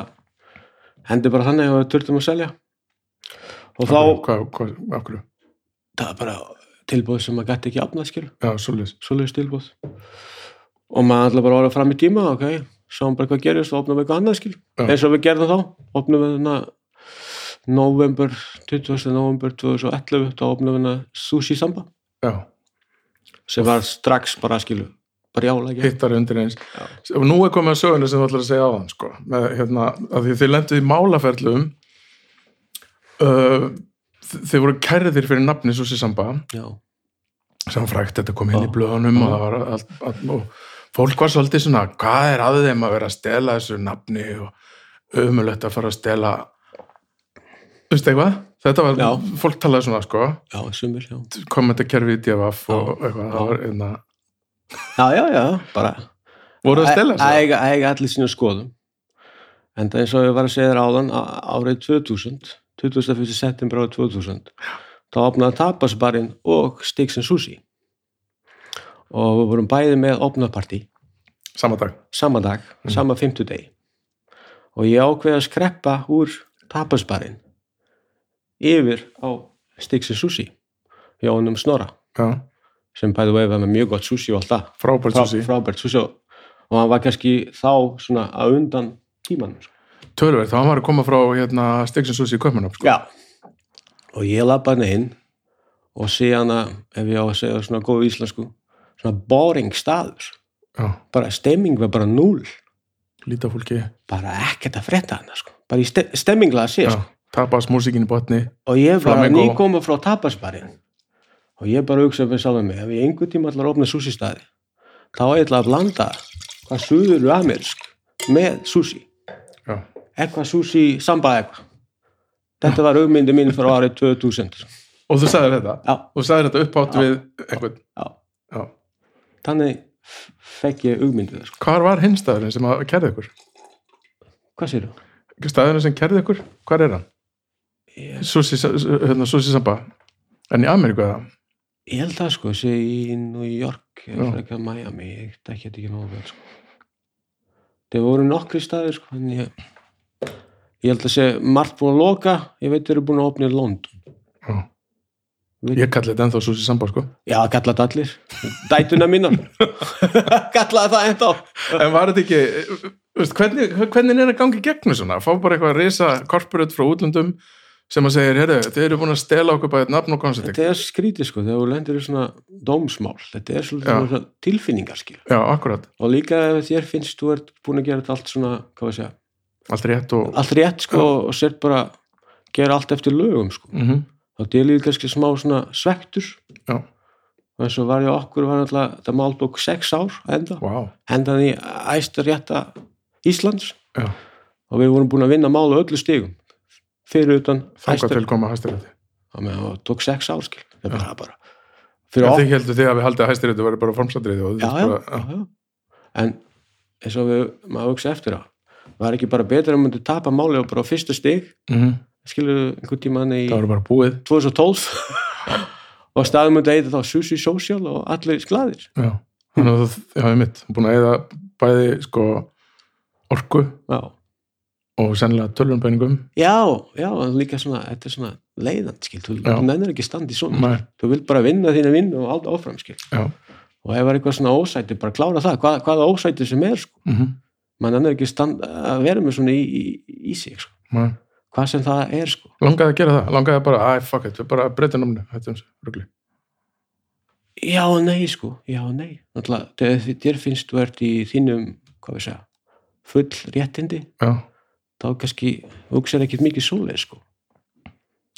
hendi bara þannig að við turtum að selja. Og þá,
Af hverju- hvað, hvað, af hverju,
það er bara tilbúð sem maður gæti ekki afnað, skilur.
já, svolítið
svoleiðis tilbúð og maður ætla bara að vera fram í tíma ok, sáum bara hvað gerist og opnum við eitthvað annað skil
Já.
eins og við gerðum þá opnum við hana november, 20. november 2011 þá opnum við hana sushi samba
já,
sem var strax bara skilu bara jálega
hittar undireins og nú er komið að söguna sem þú ætlar að segja áðan sko. með, hérna, að því þið lenduð í málaferlum uh, þ- þið voru kærðir fyrir nafni svo sér samba
já,
sem var frægt þetta kom inn í
Já.
blöðunum og,
Já.
það var allt, allt, og fólk var svolítið svona hvað er að þeim að vera að stela þessu nafni og ömulegt að fara að stela veistu eitthvað? Þetta var,
Já.
fólk talaði svona sko,
já, sumir já.
kommentarkerfi í DFF og
Já.
eitthvað,
Já.
það var einna
já, já, já, bara
voru að stela
Æ-
þessu?
æga, æga allir sína skoðum en það eins og ég var að segja þér áðan á- árið 2000 21. september árið 2000 þá opnaði tapasbarinn og Stiksen Sushi og við vorum bæði með opnapartí
Sama dag,
sama dag, sama fimmtudegi og ég ákveði að skreppa úr tapasbarinn yfir á Stiksen Sushi Jónum Snorra
já,
sem bæði veið með mjög gott sushi og allt það
frábært
frá,
svo sí
frábært Susi og og hann var kannski þá svona að undan tímanum sko.
tölverð, þá hann var að koma frá hérna, Stigson Susi í Kaupmannum sko.
já og ég lappa hann inn og sé hann að, ef ég á að segja svona góð íslensku, svona boring staður
já,
bara stemming var bara núl
líta fólki
bara ekkert að frétta hann sko. bara í ste stemminglega að sé
já,
sko.
tapas músikinn í botni
og ég var
Flamenco.
nýkoma frá tapasbarinn og ég bara hugsaði fyrir sjálfum mig ef ég einhvern tíma allar opna sushi-staði þá er ég ætla að blanda hvað suður amersk með sushi
já,
eitthvað sushi samba eitthvað þetta var hugmyndi mín frá árið 2000
og þú sagðir þetta
já,
og þú sagðir þetta upphátt við einhvern
já,
já.
þannig f- fekk ég hugmyndið sko.
hvar var hinn staðurinn sem að kerði ykkur
hvað sér þú?
staðurinn sem kerði ykkur, hvar er hann?
Ég,
Susi, hérna, Susi Samba en í Ameríku eða?
ég held það sko, sé í New York
Já.
eða frekar Miami, ég þekki þetta ekki nógu vel sko. það voru nokkri staðir sko, en ég ég held að sé margt búin að loka ég veit þeir eru búin að opna í London
já ég kalli þetta ennþá Susi Samba sko
já, kallaði það allir, dætuna mínar kallaði það ennþá
en var þetta ekki eh, veist, hvernig, hvernig er að gangi gegnum svona fá bara eitthvað að reysa korporate frá útlöndum sem að segja, heyrðu, þið eru búin að stela okkur bæðið nafn og konserting
Þetta er skrítið sko, þegar þú lendir í svona dómsmál, þetta er
Já.
svolítið svona tilfinningar skil.
já, akkurat,
Og líka ef þér finnst þú ert búin að gera þetta allt svona, hvað við segja,
allt rétt og
allt rétt sko og sért bara að gera allt eftir lögum sko.
mhm,
Þá delir þið kannski smá svona svektur
Já.
og eins og var ég okkur var náttúrulega, þetta mál tók sex ár að enda,
Vá.
endaði í æstur rétta Íslands
Já.
og við vorum búin að vinna mál á öllu stigum fyrir utan
Þanga
Hæstarétt.
til koma hæstirétti.
á meðan það tók sex ár skil það er bara, bara fyrir
Já,
okkur
þið heldur þið að við haldið að hæstirétti væri bara formsatriði og
já,
þið
já,
bara,
já, já. en eins og við, maður hugsa eftir á var ekki bara betra að myndu tapa máli og bara á fyrsta stig
Mhm.
skilur einhvern tímann í
það voru bara búið.
2012 og staðum myndu eitthvað þá Susi Social og allir gladir
Já. Þannig að það hefði mitt, búin að eða bæði sko orku
já,
og sennilega tölvunbæningum.
já, já en líka svona, þetta er svona leiðand skil þú,
Já.
þú nennir ekki standi svona
Nei,
þú vilt bara vinna þína vinn og allt áfram skil
já.
og ef það er eitthvað svona ósæti, bara klára það hvað, hvaða ósæti sem er sko
mhm,
mann er ekki stand, að vera með svona í, í, í sig sko.
Nei.
hvað sem það er sko.
Langaði að gera það, langaði bara, æ, fuck it, við bara breytum náminu, hættum þessu, rugli.
já og nei sko, já og nei Náttúrulega, þegar þi- þér finnst þú ert í þínum hvað við segja, full réttindi
Já.
þá kannski hugsaði ekkert mikið svoleið sko.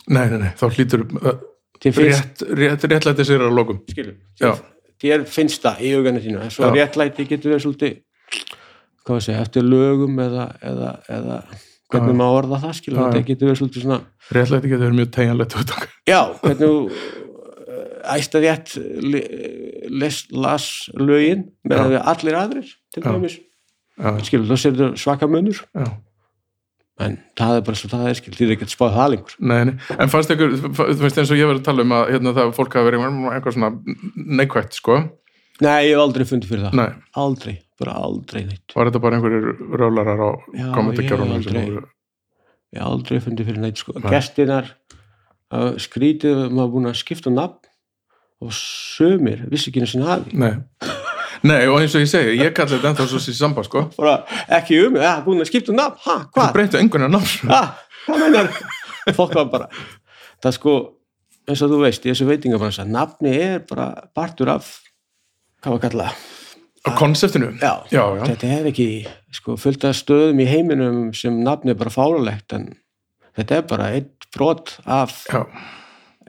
Nei, nei, nei, þá hlýtur uh,
þér finnst,
rétt, rétt, réttlæti sér að lokum.
Skilur,
Já.
þér, þér finnst það í hugana þínu en svo
Já.
réttlæti getur verið svolítið hvað við segja, eftir lögum eða, eða, eða hvernig
Já.
maður orða það skilur,
Já, já.
þetta getur verið svolítið svona
Réttlæti getur verið mjög tegjanlegt út okkar.
Já, hvernig þú æsta rétt les, las lögin
Já.
með að allir aðrir til
Já.
dæmis
Já,
skilur, þá sér þetta svaka munur
já.
en það er bara svo það er skil, því er ekki að spáða það lengur
Nei, nei. En fannst ykkur, fa- þú veist eins og ég verið að tala um að hérna, það fólk hafa verið eitthvað svona neikvætt, sko.
Nei, ég hef aldrei fundið fyrir það
Nei,
Aldrei, bara aldrei neitt
var þetta bara einhverjir rálarar á
Já,
kommentarkerunum
ég
sem
aldrei.
voru...
Ég hef aldrei fundið fyrir neitt sko.
Nei.
Gestinar uh, skrítið, maður búin að skipta um nafn og sömur, vissi ekki einu sinni hafi
Nei. Nei, og eins og ég segi, ég kalli þetta ennþá svo sér samba, sko.
bara ekki um, ja, búin að skipta nafn ha,
Það
hvað?
breyttu einhvern veginn nátt.
ah, hvað meinar fólk var bara það er sko, eins og þú veist í þessu veitingafransa, nafni er bara partur af, hvað var kalla
Á konseptinu.
Ah. já,
Já, já.
þetta er ekki sko, fullt af stöðum í heiminum sem nafni er bara fáralegt en þetta er bara eitt brot af
Já,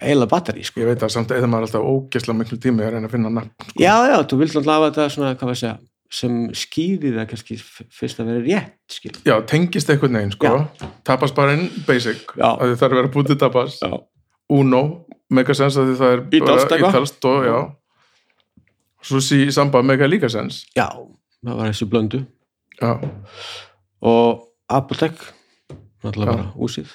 eila batteri sko.
ég veit að samt eða maður alltaf ógesla miklu tími að reyna að finna nafn.
já, já, þú vilt náttúrulega hafa þetta svona, hvað var að segja sem skýði það kannski f- fyrst að vera rétt skil.
Já, tengist einhvern veginn, sko. Tapasbarinn, basic.
Já.
Að þið þarf að vera bútið tapas.
já,
Uno, mega sens að því það er
Ítalskt
bara
eitthvað.
ítalskt og já Sushi samba mega líka sens
já, það var þessi blöndu
já,
og Apotek náttúrulega
Já.
bara húsið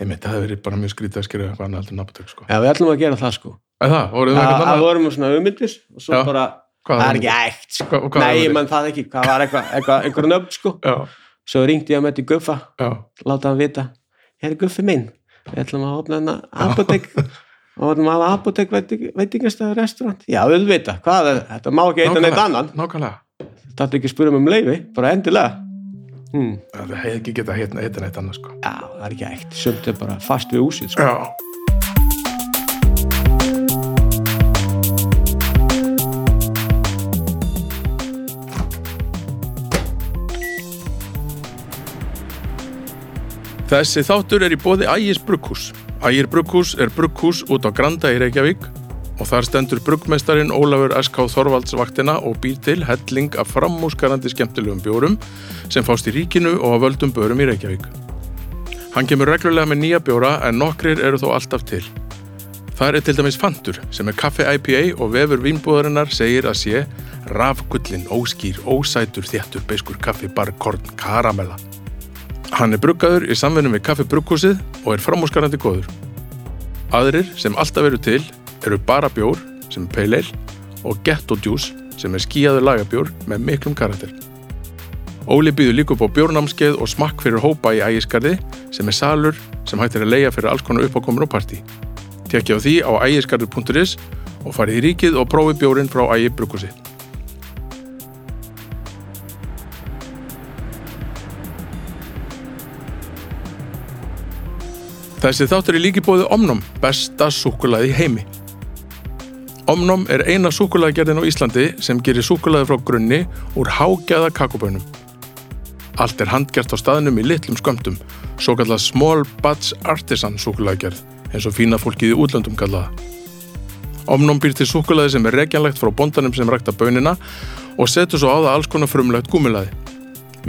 einmitt, það hefur verið bara mjög skrítið að skýra eitthvað annað heldur nabutök sko.
Já, við ætlum að gera það sko.
eða það, voruð
Að
það eitthvað
að
annað?
vorum með svona ummyndir og svo
um Já.
bara,
Hvað
það er
hafði
ekki
verið?
ægt sko.
Hvað- hvað
Nei,
hafði
ég
verið?
mann það ekki, hvað var eitthvað, eitthvað, einhver nöfn sko.
já,
Svo ringdi ég að með þetta í Guffa,
já,
láta hann vita, hér er Guffi minn, við ætlum að opna hérna hennar apotek og vorum að hafa apotek veiting, veitingastæður restaurant. Já, við vita, hvað er þetta, má ekki eitthvað neitt annan.
nákvæmlega
Þetta er ekki að spura mig um leiði, bara endilega. Hmm.
Já, það hefði ekki getað hérna eitthvað neitt annað sko.
Já, það er ekki ægt, sumt er bara fast við úsið sko.
já, Þessi þáttur er í bóði Ægis Brugghús. Ægir Brugghús er brugghús út á Granda í Reykjavík og þar stendur bruggmeistarin Ólafur S.K. Þorvalds vaktina og býr til helling af framúskarandi skemmtilegum bjórum sem fást í ríkinu og að völdum börum í Reykjavík. Hann kemur reglulega með nýja bjóra en nokkrir eru þó alltaf til. Þar er til dæmis Fantur sem er kaffe IPA og vefur vínbúðarinnar segir að sé rafgullin, óskýr, ósætur, þéttur, beiskur, kaffi, bar, korn, karamella. Hann er bruggaður í samvinnu við kaffi brugghúsið og er framúskarandi góður. Aðrir sem alltaf eru til eru bara bjór sem er pale ale og ghetto juice sem er skíaður lagabjór með miklum karakter. Óli býður líka upp á bjórnámskeið og smakk fyrir hópa í ægiskarði sem er salur sem hægt er að leia fyrir alls konar uppákomin og partí. Tekja á því á ægiskarður.is og farið í ríkið og prófi bjórinn frá ægi brugghúsið. Þessi þáttur er líki bóði Omnum, besta súkulaði í heimi. Omnum er eina súkulaðgerðin á Íslandi sem gerir súkulaði frá grunni úr hágæða kakobönum. Allt er handgert á staðnum í litlum skömmtum, svo kallað Small Batch Artisan súkulaðgerð, eins og fína fólkið í útlöndum kallaða. Omnum býr til súkulaði sem er regjanlegt frá bondanum sem rækta bönina og setur svo á það alls konar frumlegt gúmilaði.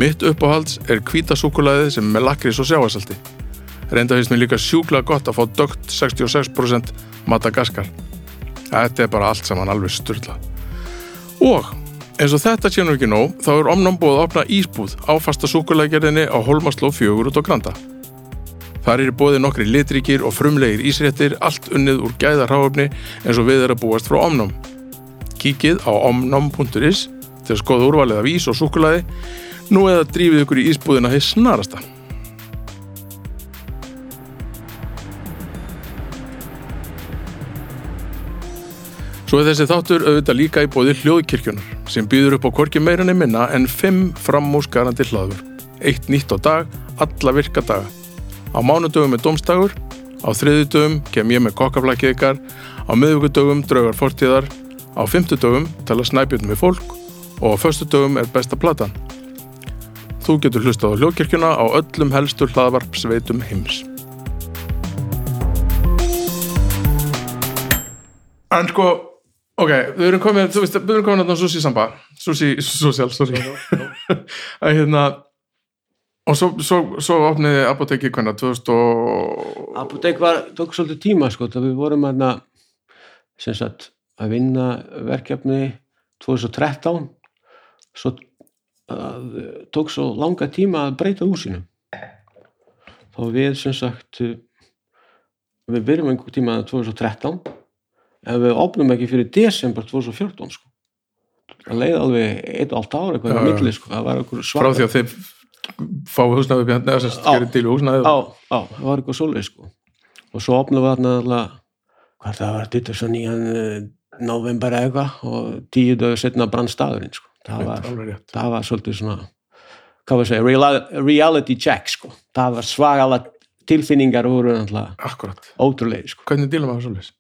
Mitt uppáhalds er hvítasúkulaði sem er með lakrís og sjáasalti. Reynda finnst mér líka sjúklega gott að fá dögt 66% Madagaskar. Þetta er bara allt saman alveg styrla. Og eins og þetta tjenur ekki nóg, þá er Omnum búið að opna ísbúð á fasta súkulaðgerðinni á Holmasló 4 út á Granda. Þar eru bóðið nokkri litríkir og frumlegir ísréttir, allt unnið úr gæða ráöfni eins og við er að búast frá Omnum. Kíkið á omnum.is til að skoða úrvalið af ís og súkulaði, nú eða drífið ykkur í ísbúðina hér snarasta. Svo er þessi þáttur auðvitað líka í bóði hljóðkirkjunar sem býður upp á korki meirinni minna en fimm framúsgarandi hlaður. Eitt nýtt á dag, alla virka daga. Á mánudögum er domstagur, á þriðjudögum kem ég með kokkaflækið ykkar, á miðvíkudögum draugar fortíðar, á fymtudögum tala snæbjörn með fólk og á föstudögum er besta platan. Þú getur hlustað á hljóðkirkjuna á öllum helstu hlaðvarpsveitum heims. En sko, ok, við erum komin, þú veist, við erum komin að sushi samba, sushi, social, sorry. að hérna, og svo, svo, svo opniði apotekið hvernig, 2000 og...
Apotek var, tók svolítið tíma sko, það við vorum aðna sem sagt að vinna verkefni 2013 svo að, tók svo langa tíma að breyta húsinu þá við sem sagt við byrjum einhver tíma 2013 en við opnum ekki fyrir desember 2014 sko það leiði alveg eitt og allt ára eitthvað
Já,
á
já.
milli sko, það var einhver svart
frá því að þið fáið húsnæði upp í hendni eða sem
Á.
gerir til í húsnæði
á, á, það var eitthvað svolítið sko og svo opnaði við þarna alltaf hvað það var, þetta er svo nýjan eh, november eða eitthvað og tíu dögur setna brann staðurinn sko það var,
alveg rétt
það var svolítið svona hvað var að segja, reali- reality check sko það var svagala tilfinningar voru alltaf
akkurat,
ótrúlega sko
hvernig díla maður svolítið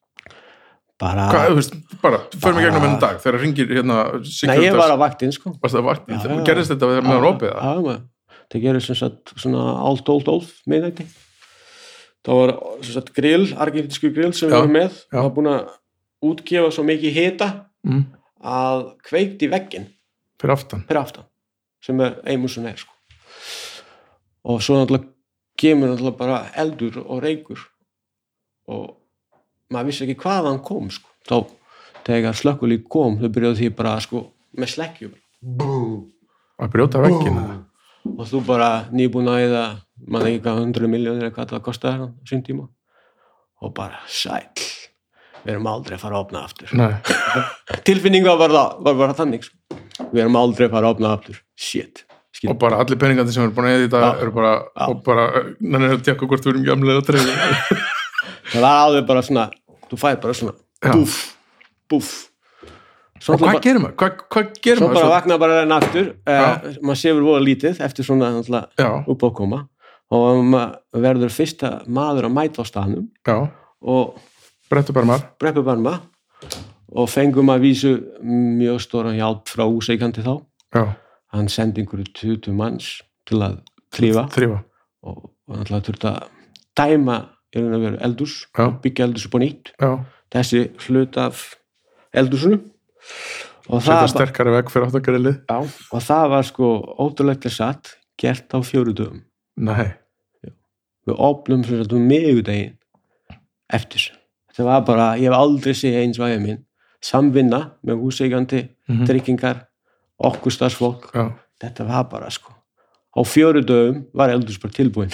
bara,
hvað, þú veist, bara, förum við
Bara-
gegnum enn dag þegar ringir hérna
Ah. nei ég var
securitas
á vaktin sko
varst það vart,
Já, já, Ah. já.
gerðist þetta með hann opið það?
Já, maður. það gerir sem sagt svona allt old old miðnætti það var sem sagt grill, argentísku grill sem við
Já,
varum með
já.
það var búin að útgefa svo mikið hita
Mm,
að kveikt í veggin
fyrir aftan
per aftan sem er eimusun er sko. og svo náttúrulega kemur náttúrulega bara eldur og reykur og maður vissi ekki hvað hann kom sko. þá þegar slökkulík kom þau byrjaði því bara sko, með slekkjum
að brjóta veggina
og þú bara nýbúin að eða mann ekki hvað 100 miljónir eða hvað það kostaði hann sín tíma og bara sæl við erum aldrei að fara að opna aftur
nei,
tilfinninga var það, var bara þannig sko. við erum aldrei að fara að opna aftur shit, skil,
og bara allir peningandi sem eru búin að eða í dag
Já.
eru bara,
Já.
og bara nannig að tjekka hvort við erum gamlega að treyja
það var alveg bara svona þú fæði bara svona,
Já.
búff búff
og hvað
bara,
gerir maður? Hvað- hvað gerir
svo
maður?
bara
svo?
vakna bara enn aftur uh, maður séfur voða lítið eftir svona náttúrulega,
já,
upp á koma og maður verður fyrsta maður að mæta á staðnum
já,
og
brettu bara maður
Breppubarma og fengum að vísu mjög stóran hjálp frá úseikandi þá.
já,
Hann sendi einhverju 20 manns til að trífa
þrýfa,
og og náttúrulega þurfti að dæma í raun að vera eldús,
Já.
byggja eldús upp á nýtt.
já
Þessi hlut af eldúsinu og
setja
það, var,
sterkari vegg fyrir aftakarillið
já, og það var sko ótrúlegt er satt gert á fjóru dögum.
nei,
Við opnum sem sagt um miðugdegin eftir. Þetta var bara, ég hef aldrei séð eins væðið minn, samvinna með húseikandi
Mhm.
tryggingar, okkur starfsfólk
já
þetta var bara sko á fjóru dögum var eldurs bara tilbúin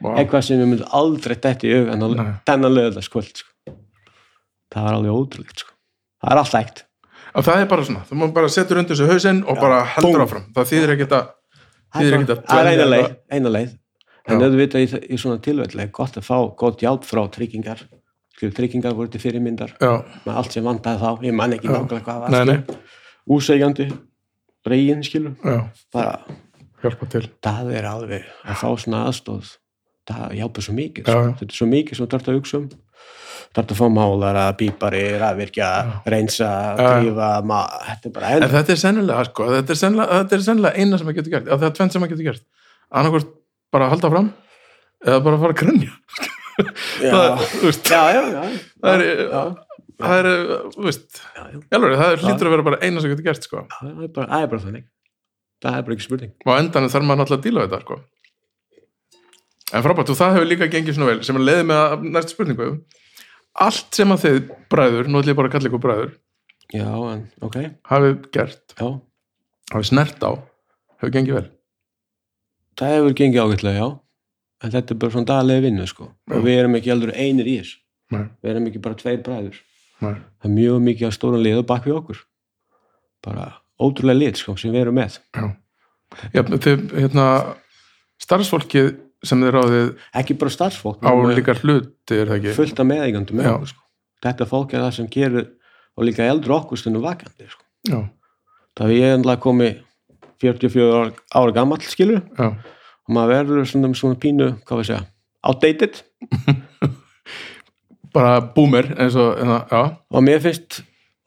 Vá.
eitthvað sem við myndum aldrei þetta í augan að
Nei.
þennan löða skvöld sko. það var alveg ótrúlegt sko. það er allt eitt
Og það er bara svona, þú maður bara setur undir þessu hausinn og bara heldur
Búmm.
áfram. Það þýðir ekkert að, Þið
það
er
er
ekkert
bara-
að
það er
dvelja
eina leið,
eitthvað.
eina leið. en
Já.
auðvitað í, í svona tilvæglega gott að fá gott hjálp frá tryggingar Skilur, tryggingar voru til fyrirmyndar
já,
með allt sem vandaði þá, ég man ekki
Já.
nákvæmlega hvað
nei,
það var,
nei,
úsegjandi reygin skilur,
já,
bara
hjálpa til.
það er alveg að fá svona aðstóð það hjálpa svo mikið
Já,
sko.
já.
þetta er svo mikið sem þú þarf að hugsa um þarf að fá málara, bípari, rafvirkja reynsa,
Já, já.
drífa ma þetta er bara
En
enn
þetta er sennilega, sko, þetta er sennilega, þetta er sennilega eina sem maður getur gert, að það er tvennt sem maður getur gert. Annarkvort bara halda áfram eða bara fara að grenja.
já.
Það, þú veist,
já, já, já,
það er,
já.
það er, uh, þú veist
já, já,
alveg, það er
Já.
hlýtur að vera bara eina sem getur gert sko.
það er bara, það er bara þannig það er bara ekki spurning
og á endanum þarf maður náttúrulega að díla við þetta sko. en frábært og það hefur líka gengið svona vel sem að leiði með að næstu spurningu allt sem að þið bræður nú ætlum ég bara að kalla ykkur bræður
já, en, ok,
hafið gert,
já,
hafið snert á hefur gengið vel
það hefur gengið ágætlega, já en þetta er bara svona daglega vinnu, sko
Já.
og við erum ekki aldur einir í þess
Nei.
við erum ekki bara tveir bræður
Nei.
það er mjög mikið á stóran lið og bak við okkur bara ótrúlega lið, sko, sem við erum með
Já, þið, hérna, starfsfólkið sem þið ráðið
ekki bara starfsfólk,
á
við erum
líka hluti er það ekki
fullt af meðeigandum með
Já.
okkur, sko. þetta fólk er það sem gerir og líka eldur okkur stundum vakandi sko.
já,
það er ég endla komi 44 ára, ára gamall skilur
já,
og maður verður svona, svona pínu hvað við segja, outdated
bara boomer eins og, hérna, já,
og mér finnst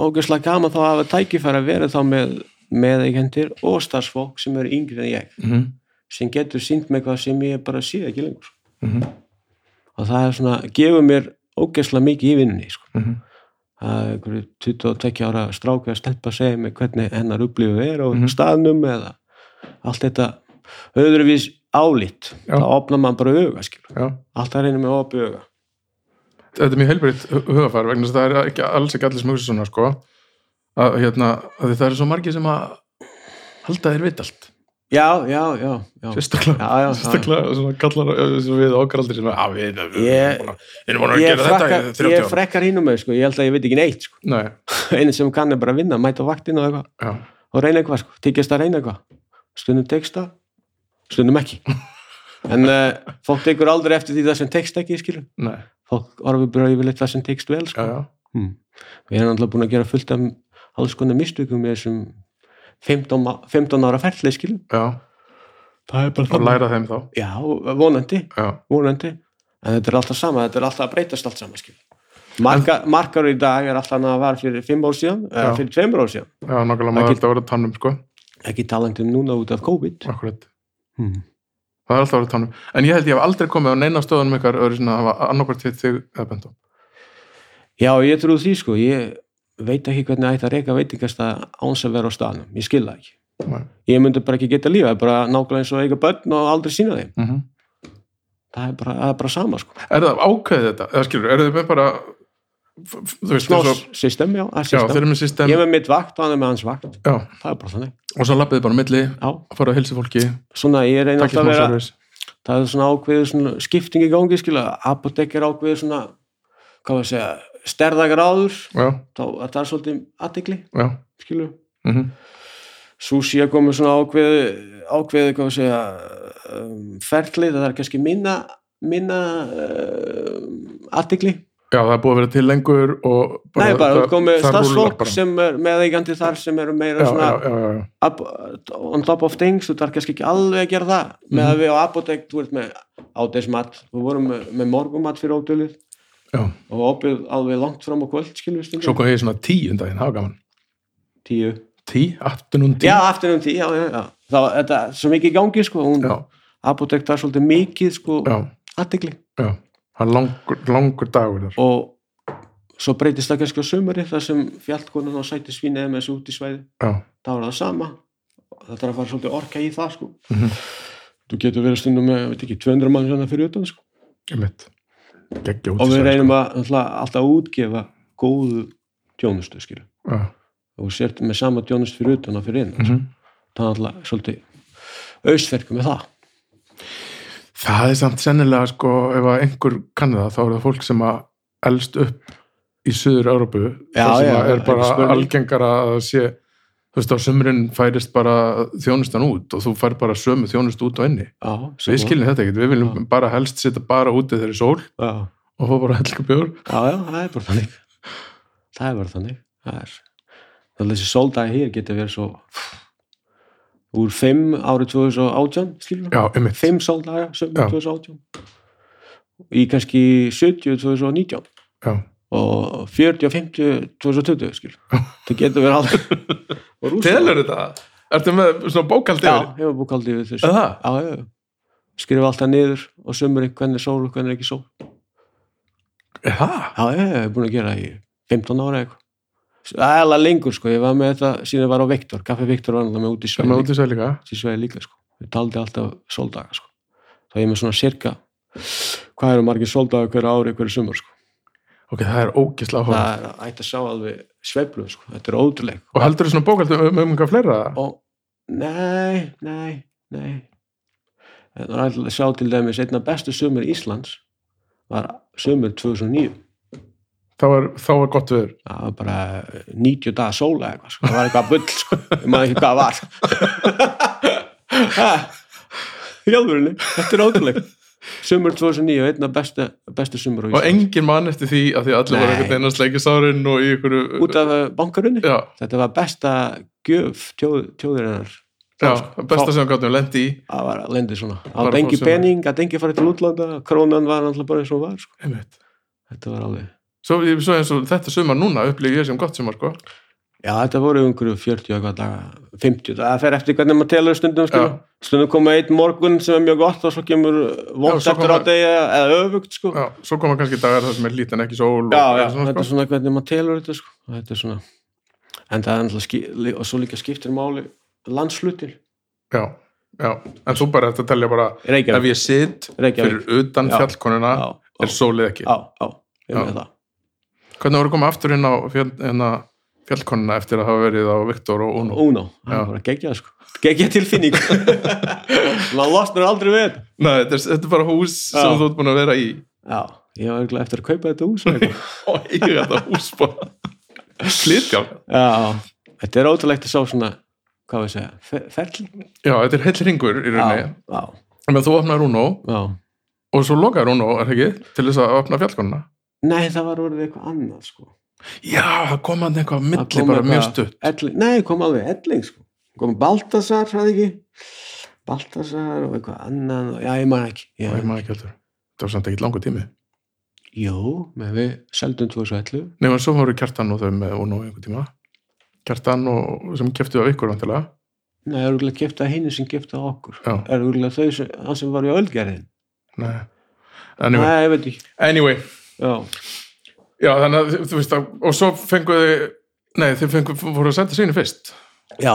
ógeðslega gaman þá að hafa tækifæri að vera þá með meðeigendir og starfsfólk sem eru yngri en ég
mm -hmm.
sem getur sínt með hvað sem ég bara sé ekki lengur
Mhm.
og það er svona, gefur mér ógeðslega mikið í vinnunni sko.
mhm,
það er einhverju 22 ára stráku að stelpa að segja mig hvernig hennar upplifu er og
Mhm.
staðnum eða allt þetta öðruvís álitt
Já.
þá opnar maður bara auga skilur.
já
allt það reynir með opið auga
þetta er mjög heilbriðt hugafar vegna þess að það er ekki, alls ekki allir sem hugsa svona sko að hérna, að það eru svo margir sem að halda þér vit allt
já, já, já, já.
sérstaklega,
já, já, já.
sérstaklega svona kallar eh, sem við okkaraldir sem að "Ah, við við
Ég-
erum búin að- við erum búin að
Ég,
gera þetta
frekkar,
í
ég
30 ára
frekkar hínum með sko. ég held að ég veit ekki neitt sko.
Nei,
einu sem kann er bara að vinna, mæta á vaktin og, eitthvað,
já,
og reyna eitthvað, sko. tíkjast að reyna eitthvað stundum tekst það, stundum ekki en uh, fólk tekur aldrei eftir því það sem tekst ekki skilur.
nei,
fólk orfið bara yfirleitt það sem tekst vel sko.
já, já
Hmm. Við erum alltaf búin að gera fullt af alls konar mistökum í þessum 15, ma- 15 ára ferðlið skilum.
já,
Það er bara
og læra þeim þá
Já, vonandi,
já,
vonandi. En þetta er alltaf sama, þetta er alltaf að breytast allt sama skilum. Marka, markar í dag er alltaf að var fyrir 5 ár síðan, eða
Já.
fyrir 2 ár síðan.
já, nákvæmlega maður
Það
alltaf að vera tannum sko,
Ekki talandi um núna út af COVID.
akkurat
Hmm.
það er alltaf að vera tannum, en ég held ég hef aldrei komið á neina stöðunum ykkar öðru sinna að hafa annarkvært hitt þig eða bendum,
Já, ég trú því sko, ég veit ekki hvernig ætti að reyka veitingast að áns að vera á staðnum. Ég skil það ekki.
nei,
Ég myndi bara ekki geta lífa, bara nákvæmlega eins og eiga börn og aldrei sína þeim.
mhm
Það er bara, það er bara sama sko.
Er það ákveðið þetta? Eða skilur, eru þið með bara f- f- þú veist,
Smá
eins og,
system, já, að
já,
system.
þeir eru með system
Ég er með mitt vakt og hann er með hans vakt.
já,
Það er bara þannig.
og svo lappið þið bara á milli
Já,
að fara að hilsa fólki,
svona ég reyna
takkir
alltaf að
smá
vera,
servis
það er svona ákveðið svona skipting í gangi, skilja, apotek er ákveðið svona, hvað var að segja, stærðagar áður,
Já,
þá að það er svolítið aðdegli,
já,
skilju.
mhm
Sushi er komið svona ákveðið, ákveðið, hvað var að segja, um, ferlið, það er kannski minna, minna um, aðdegli.
Já, það er búið að vera til lengur og
Nei, bara, það
það-
er komið
það rúllar
starfsfólk
bara.
sem er meðeigandi þar sem eru meira
já,
svona
já, já, já, já,
up, on top of things þú þarf kannski ekki alveg að gera það með
Mhm.
að við á apotek, þú ert með ádeismat við vorum með, með morgumat fyrir ódölið
já.
og opið alveg langt fram á kvöld skilur við
Svo
stundum,
kom ég í svona tíu um daginn, það var gaman
tíu
Tí, aftunum tí
já, aftur um tíu, já, já, já þá þetta, er svo mikið í gangi, sko hún,
já,
apotek þar svolítið mikið, sko,
já,
aðtegli
já. Það er langur, langur dagur þar
og svo breytist það kannski á sumari þar sem fjallkonan á sæti svín eða með þessu út í svæði
Já,
þá er það sama það þarf að fara svolítið orka í það, sko
mhm,
þú getur verið stundum með, ég veit ekki, 200 mann svona fyrir utan, sko
ég mitt Gekkja út
og við reynum að náttúrulega, alltaf að útgefa góðu tjónustu skilur
Já,
og sért með sama tjónustu fyrir utan og fyrir innan
mhm
það er alltaf svolítið auðsverku með það
Það er samt sennilega sko ef að einhver kanni það þá eru það fólk sem að elst upp í söður Európu
Já,
sem
já,
að er
ekki
bara
spurning.
algengara að það sé þú veist á sumrin færist bara þjónustan út og þú fær bara sömu þjónust út og inni
já,
við skiljum þetta ekkert, við viljum
Já.
bara helst setja bara úti þegar er sól
já,
og fá bara helga bjór
já, já, það er bara þannig það er bara þannig það er það þessi sóldagi hér getur verið svo úr 5 árið 2018 skilur
Já, einmitt,
5 sóldaga
Já.
sömur 2018 í kannski 70 2019
já,
og 40 og 50 2020 skil það getur verið alveg og rúsa
telur þetta Ertu með svona bókaldi
já,
yfir?
ég var búkaldi við þessu
Er
já,
það?
já, já. skrifa alltaf niður og sömur hvernig er sól og hvernig er ekki sól
Er það?
já, já, já, ég er búin að gera það í 15 ára eða eitthvað eða lengur sko, ég var með þetta síðan ég var á Viktor, Kaffi Viktor var náttúrulega með út í
sem
sveið
er út í sæl líka
í sveið líka sko, ég taldi alltaf sóldaga sko, þá ég er með svona cirka hvað eru margir sóldaga hverju ári hverju sumur sko,
ok, það er ógislega áhuga
það er ætti að sjá alveg sveiflu sko, þetta er ótrúleg
og heldur þú svona bókald um, um einhver fleira
og nei, nei, nei það er alltaf að sjá til dæmis einna bestu sumur Íslands var sumur 2009
þá var, þá var gott viður
það var bara eh, 90 dagar sóla eitthvað, sko. það var eitthvað bull sko. ég maður ekki hvað það var hjálfurinni, þetta er ótrúleik sumur 2009, einna bestu, bestu sumur á
og
Íslands,
engin mann eftir því að því að allir
Nei.
voru einhvern veginn að sleikja sárin og í ykkur
út af eh, bankarunni
já,
þetta var besta gjöf tjóð, tjóðurinnar
já,
sko,
besta sem við gáttum lendi í
það var að lendi svona, það
Bara
var engi
fór sem var.
pening það engi farið til útlanda, krónan var alltaf bara eins og hún var, sko.
einmitt
þetta var alveg
Svo, svo eins og þetta sumar núna upplýði ég sem gott sumar sko.
Já, þetta voru einhverju 40 eitthvað daga, 50, það fer eftir hvernig maður telur stundum, sko.
Já.
stundum koma einn morgun sem er mjög gott og svo kemur vond
Já, svo
eftir á
koma-
degi eða öfugt, sko. Já,
Já, svo koma kannski dagar þar sem er lítið en ekki sól og,
já,
og svona,
þetta er
sko.
svona hvernig maður telur þetta, sko. Og þetta er svona, en það er alltaf, ski... li- og svo líka skiptir máli landslutir,
já, já, en svo bara þetta telja bara ef
Reykjavík,
ég sit fyrir
Reykjavík,
utan
Já.
fjallkonuna
já, já,
er sólið ekki
já, já, ég
Já.
með það.
Hvernig voru að koma aftur inn á fjall, hérna, fjallkonuna eftir að hafa verið á Viktor og Uno?
Uno, það
Já.
var bara geggjað, sko, geggjað tilfinning. maður losnar aldrei við þetta.
Nei, þetta er, þetta er bara hús sem
Já.
þú ert búin að vera í
Já, ég var eiginlega eftir að kaupa þetta hús, eitthvað.
og eiga þetta hús bara Slitjá
Já, þetta er ótrúlegt að sjá svona, hvað við segja, fe- ferli?
Já, þetta er heill ringur í rauninni
Já, já,
Men þú opnar Uno
já.
og svo lokar Uno, er það ekki, til þess að opna fjallkonuna
Nei, það var orðið eitthvað annað, sko.
Já, það kom hann eitthvað á
Það
milli
kom
bara
eitthvað-
mjög stutt
Elling, nei, kom alveg elling, sko. Kom Baltasar, það ekki? Baltasar og eitthvað annað, og, já, ég man ekki. Já,
Það er maður ekki heldur Það var samt ekkert langur tími
Jú, með við seldum 2011.
Nei, en svo voru kjartan og þau með Uno í einhvern tíma Kjartan og, sem keftu af ykkur vantilega
Nei, það er úrlega gifta henni sem gifta okkur.
Já.
Það er úrlega þau sem, hann sem var í öllgerðin.
Nei Anyway,
Nei, ég veit ekki.
anyway.
Já,
Já, þannig að þú veist að, og svo fengu þau, nei, þau fengu, voru að senda sínu fyrst.
já.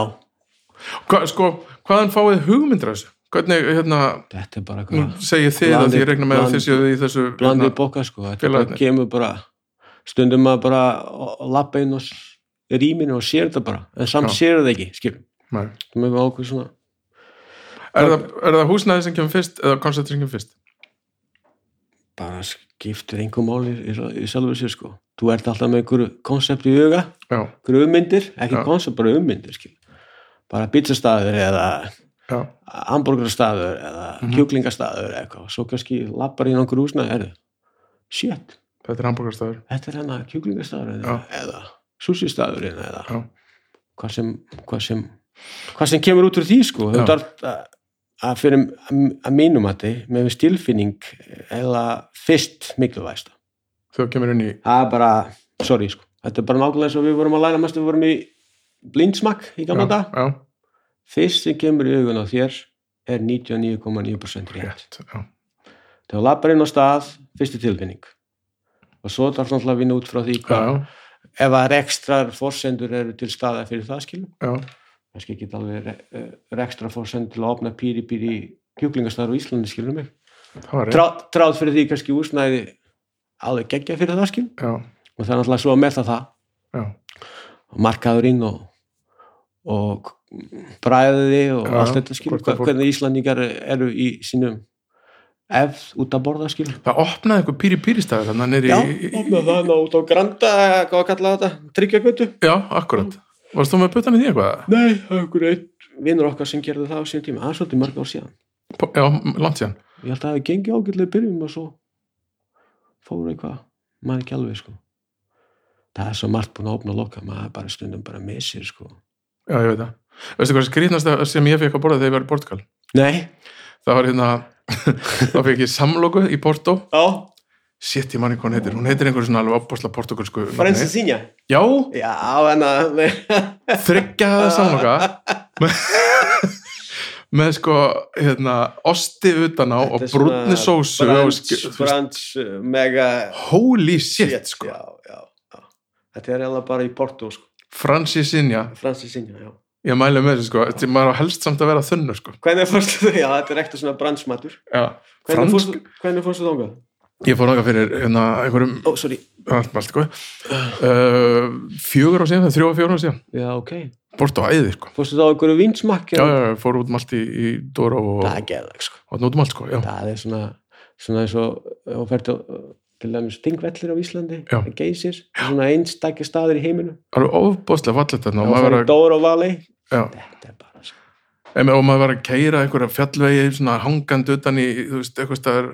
Hva, sko, hvaðan fáið hugmyndir af þessu? Hvernig, hérna,
Þetta er bara
nú
eitthvað.
segið þið að
Ah. Blandið-
því ég regna með að þið séu í þessu, hérna,
blandið bóka sko, þetta bara
félagarnir.
kemur bara stundum maður bara lappa inn og rýminu og sér þetta bara en samt
Já.
sér þetta ekki, skil
Nei.
þú með okkur svona,
er, það, er það húsnæði sem kemur fyrst eða konceptur sem kemur fyrst?
bara skiptir einhver máli í, í sjálfur sér sko þú ert alltaf með einhverju konsept í huga
Já,
einhverju ummyndir, ekki
Já.
konsept, bara ummyndir skil, bara pizzastaður eða
já,
hamburgerstaður eða
Mhm.
kjúklingastaður eða eitthvað, svo kannski lappar inn okkur húsna, er shit,
þetta er hambúrgarstæður.
þetta er hennar kjúklingastaður eða, eða sushi-staður eða
Já.
hvað sem, hvað sem hvað sem kemur út úr því sko þú
Já.
þarf að- að fyrir að mínum að þið með stilfinning eða fyrst mikilvægsta
Þau kemur inn í,
það er bara, sorry sko þetta er bara nákvæmlega eins og við vorum að læra mest við vorum í blindsmakk í
já,
gamla dag
já,
fyrst sem kemur í augun á þér er 99,9% rétt
rétt, já,
þegar þú lappar inn á stað, fyrstu tilfinning og svo þarf náttúrulega að vinna út frá því
já,
hvað, ef að rekstrar forsendur eru til staða fyrir það skilum
já,
kannski ekki alveg re eh, rekstra fórsend til að opna pýri pýri kjúklingastar á Íslandi skilur mig
það var rétt,
Trá, tráð fyrir því kannski úsnæði alveg geggja fyrir það skil
já,
og það er náttúrulega svo að meta það
já,
og markaðurinn og, og bræði og
Já,
allt þetta skil
hvort að fólk-
hvernig Íslandingar eru í sínum ef út að borða skil
það opnaði einhver pýri pýristæður þannig að nýri,
Já,
í,
opna það út á Granda eða hvað að kalla þetta, tryggjagötu
já, akkurat, varst þú með puttan í því eitthvað?
Nei, aukur eitt vinnur okkar sem gerði það á sín tíma, það er svolítið mörg ár síðan
Po- Já, langt síðan,
ég held að það hefði gengið ágætlega í byrjum og svo fóru eitthvað maður ekki alveg sko það er svo margt búin að opna og loka maður bara stundum bara missir sko
já, ég veit það. Veistu hvað skrýtnasta sem ég fekk að borða þegar ég var í Portugal?
nei,
það var hérna þá fekk ég samloku í Porto
á,
shit, ég manni hvað hún heitir, hún heitir einhver svona alveg opbosla portugalsku nafni.
Sinja
já,
já, en að
þryggja það samloka með, með sko hérna, osti utan á og brúnni sósu og sk-
brans, mega
holy shit, sko
já, já, Þetta er eða bara í Porto, sko.
Fransisinja,
Fransisinja, já.
ég mæli með þessu sko þetta er maður á helst samt að vera þunnur sko
Hvernig fórstu þú? Já, þetta er ekkert svona brandsmatur.
já,
Hvernig
fransk,
fórstu, hvernig fórstu þangað?
ég fór þangað fyrir hérna einhverjum,
Ó, sorry.
allt, allt sko uh, fjögur á síðan, þrjó og fjögur á síðan
Já, ok.
bort á æði sko
Fórstu þá á einhverju vinsmakki?
já, já, já, fór út um allt í, í Dóró og
Það er geðveg, sko.
átna út um allt sko já,
Það er svona, svona eins og, og fært á, til dæmis, Stingvellir á Íslandi,
Já.
Geysir, svona einstakki staðir í heiminu.
alveg ofbóðslega fallet þarna og
og
maður
fara í
var að,
Dóra og Vali.
já,
Þetta er bara, sko.
em, og maður var að keira einhverja fjallvegi svona hangand utan í, þú veist, eitthvað staðar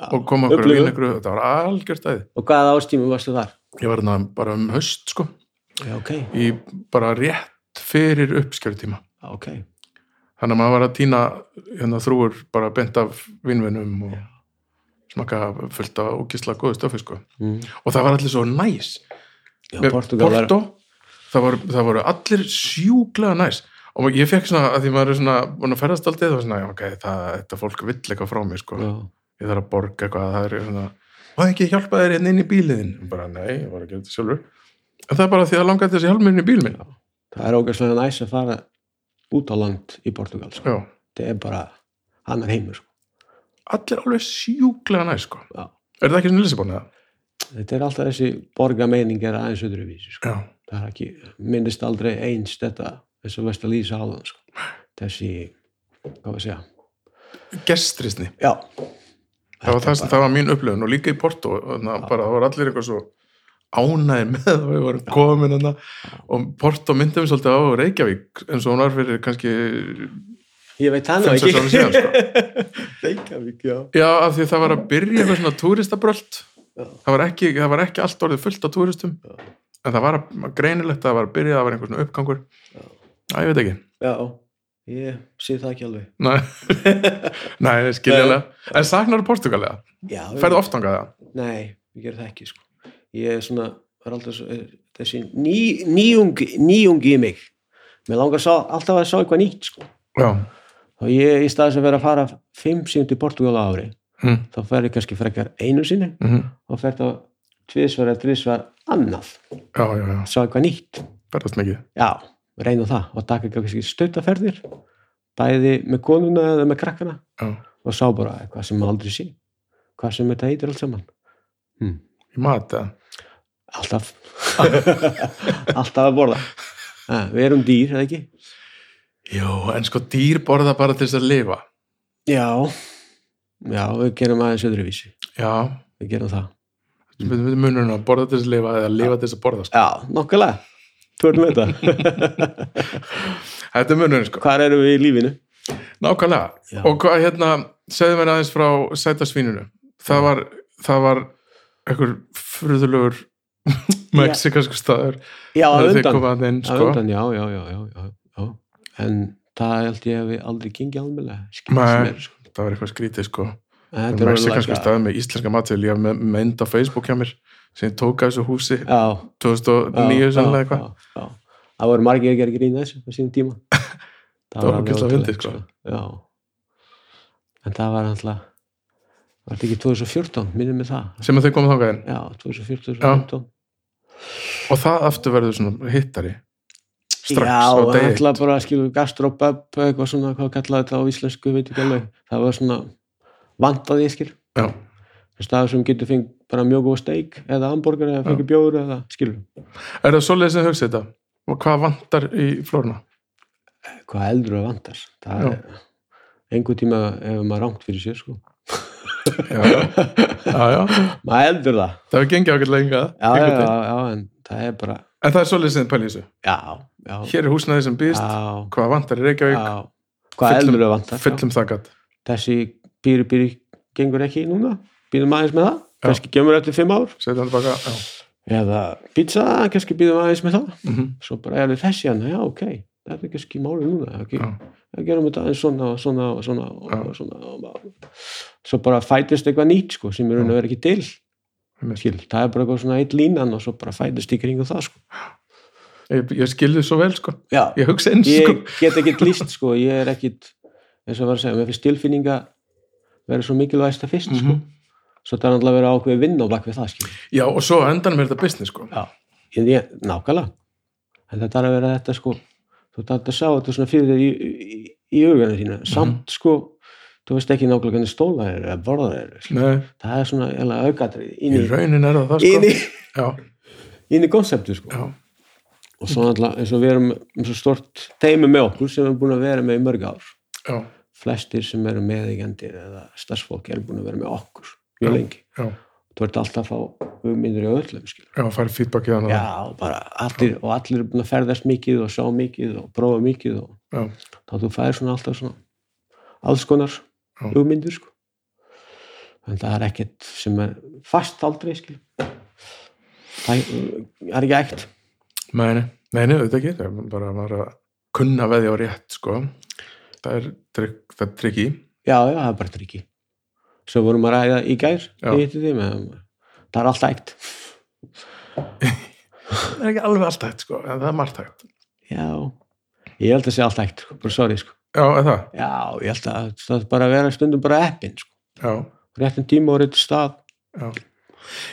og koma einhverja
upplifun.
vín einhverju, þetta var algjört æði
Og hvaða ástími varstu þar?
ég var þarna bara um haust sko
Já, ok.
í bara rétt fyrir uppskjörutíma
Ok.
þannig að maður var að týna hérna, þrúur bara bent af vinnvinnum og smakka fullt af ógisla góðu stöfi sko.
Mm.
og það var allir svo næs
Já,
Með
Portugal er...
Porto, það, voru, það voru allir sjúklega næs og ég fekk svona að því maður er svona búin að ferðast aldrei það var svona, já, ok, það, þetta fólk vill eitthvað frá mér sko.
Já.
ég þarf að borga eitthvað það er svona, má ég ekki hjálpa þér hérna inn í bíliðin bara nei, ég var að gera þetta sjálfur en það er bara því að langaði þessi hjálmur inn í bíl minn já,
Það er ógæslega næs að fara út á land í Portugal, sko. Þetta er bara, hann er heimur, sko.
allir alveg sjúklega næs sko.
Já.
er það ekki svona Lisabon eða?
Þetta er alltaf þessi borgameining er aðeins öðruvísi, sko.
Já.
Það er ekki, minnist aldrei eins þetta, þess að veist að lýsa áðan, sko. Þessi, hvað var að segja?
gestrisni,
Já.
það var,
Þetta er
það, það var mín upplöfun og líka í Porto na, bara, það var allir eitthvað svo ánæði með það við vorum komin hana og Porto myndið mér svolítið á Reykjavík eins og hún var fyrir kannski
Ég veit hann
Fimm,
ekki.
sex árum síðan, sko.
Reykjavík, já.
já af því það var að byrja með svona túristabröld
Já.
það var ekki, það var ekki allt orðið fullt af túristum
Já.
en það var að, greinilegt að það var að byrja það var einhver svona uppgangur
Já.
Æ, ég veit ekki
Já, ég sé það ekki alveg.
Nei, Nei skiljanlega En saknar Portugalega?
Já.
Ferðu oft angað það?
Nei, ég ger það ekki sko. Ég er svona, er alltaf svo, er, þessi ný, nýjung, nýjung í mig. Mér langar sá, alltaf að sá eitthvað nýtt sko.
Já
Og ég, í staðis að vera að fara fimm sínt í Portugal á ári,
mm.
þá fer ég kannski frekar einu sinni
Mm
og fer þá tvisvar eða tvisvar annað.
Já, já, já,
Sá eitthvað nýtt.
ferðast mikið
Já, reyna það og taka ekki kannski stautaferðir, bæði með konuna eða með krakkana
Já,
og sá bara eitthvað sem maður aldrei sé. Hvað sem þetta heitir allt saman. Hmm.
ég mat það
Alltaf Alltaf að borða ha, Við erum dýr, eða ekki?
Jó, en sko dýr borða bara til þess að lifa
Já Já, við gerum aðeins öðruvísi
Já,
Við gerum það
við mm. munurinn að borða til þess að lifa eða lifa til þess að borða sko.
Já, nokkulega Þú erum þetta
Þetta er munurinn sko,
Hvar erum við í lífinu?
nákvæmlega
Já.
Og hvað hérna, segðu mér aðeins frá sætasvínunu Það var, það var einhver furðulegur mexikansku staður
Já, að
þegar þið
undan
komaði inn
Að
sko.
undan, já, já, já, já, já, já En það held ég að við aldrei gengið almennlega
Nei.
Skilst mér sko.
Það var eitthvað skrítið sko
En þetta er
mexikanska
alveg-
stað með íslenska matseðil ég var með mynd á Facebook hjá mér sem ég tók af þessu húsi
Já, já,
2009 sannlega eitthvað
já, já, já. Það voru margir að gera grín að þessu á sínum tíma
Það var
alveg
ógeðslega fyndið,
ótrúlegt, sko. Já. En það var alltaf var þetta ekki 2014, minnum við það
sem að þau komið þangað inn
Já, 2014, 2015
og það aftur verður svona hittari strax á
Já,
degi
alltaf bara skilur gastrópöp eitthvað svona, hvað kallaði þetta á íslensku veit ekki alveg, það var svona vandaði skil,
já,
staður sem getur fengið bara mjög góð steik eða hamburger eða fengið bjóður eða skilur
er það svoleiðis sem hugsa þetta og hvað vantar í flórna
hvað eldur að vandar það
Já.
er einhver tíma ef maður rangt fyrir sér sko
já, já, já,
maður eldur það,
það hefur gengið ákveð lenga
já, já, já, já en það er bara,
en það er svoleiðis sem pæli í þessu
já, já
hér er húsnaði sem býðist,
já,
hvað vantar í Reykjavík
já, hvað
Fyllum-
eldur að vantar já.
fyllum það gætt
þessi býri býri gengur ekki núna býðum aðeins með það, kannski gemur eftir fimm ár
setja hann baka já.
eða pizza, kannski býðum aðeins með það
mhm,
svo bara er við þessi hann, já ok það er kannski máli núna ekki,
Já.
það gerum þetta aðeins svona og svona og svona, og
Já.
svona og bara- svo bara fætist eitthvað nýtt sko, sem er raun að vera ekki til
einmitt.
Skil, það er bara eitthvað svona eitt línan og svo bara fætist í kringum það sko.
ég, ég skilði svo vel sko
Já,
ég hugsa eins sko
ég get ekkit líst sko, ég er ekkit eins og ég var að segja, mér finnst tilfinninga verið svo mikilvægsta fyrst
Mhm.
sko. svo það er alltaf að vera ákveði vinn á bak við það skil.
Já, og svo á endanum er þetta business sko.
Já. En ég, nákvæmlega. En þetta er að vera þetta sko, þú ert alltaf að sjá þetta svona fyrir þér í, í, í augana þína.
Mhm.
Samt sko, þú veist ekki nákvæmlega hvernig stóla eru eða borða eru. sko.
Nei,
Það er svona eiginlega aukatrið
í
inn í,
raunin er það það
inn
sko.
í,
Já,
inn í konseptu sko.
já,
Og svo alltaf eins og við erum um svo stort teimi með okkur sem við erum búin að vera með í mörg ár.
já,
Flestir sem eru meðigendir eða starfsfólk eru búin að vera með okkur
Já.
mjög lengi.
já,
Þú ert alltaf að fá hugmyndir í öllum skil.
já, fær feedbackið hann
Já, bara allir, og allir er búin að ferðast mikið og sjá mikið og prófa mikið og
já,
þá þú fæðir svona alltaf svona alls konar
Já.
hugmyndir sko. en það er ekkert sem er fast aldrei skil. það er ekki ekkert
nei, nei, nei, nei, auðvitað ekki, það er bara að maður að kunna veðja á rétt, sko. Það er, trygg, það er tryggi,
já, já, það er bara tryggi svo vorum að ræða í gær
Já.
ég hitti því, menn, það er alltaf ekkert
það er ekki alveg allt hægt, sko, en það er margt hægt.
já, ég held að sé alltaf ekkert sko, bara sorry sko.
Já, eða það,
já, ég held að það er bara að vera stundum bara eppin sko.
já,
réttin tíma og réttin stað
já.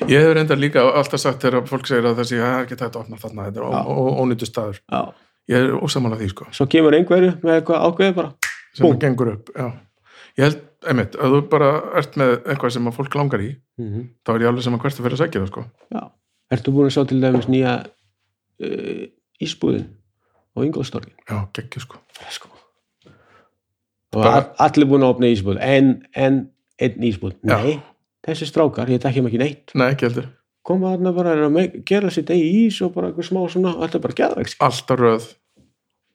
Ég hefur reyndar líka alltaf sagt þegar að fólk segir að það sé að ekki tætt að opna þarna, þetta er ó-
Já.
ó- ónýttur staður.
já.
Ég er ósamála því, sko,
svo kemur einhverju með eitthvað ákveði bara
sem
Búm.
það gengur upp, já. Ég held, einmitt, að þú bara ert með eitthvað sem að fólk langar í, þá er ég alveg sem að hvert að fyrir að segja það, sko.
Já. Ertu búin að sjá til dæmis nýja uh, ísbúðin og yngolstorgin?
Já, geggjur, sko.
Sko. Og
Bara-
all- allir búin að opna ísbúð en, en einn ísbúð.
Já.
Nei, þessi strákar, ég tekja ekki neitt.
Nei, ekki heldur.
Koma þarna bara eru að me- gera sitt eigi ís og bara eitthvað smá svona, þetta er bara geðveik. sko.
alltaf röð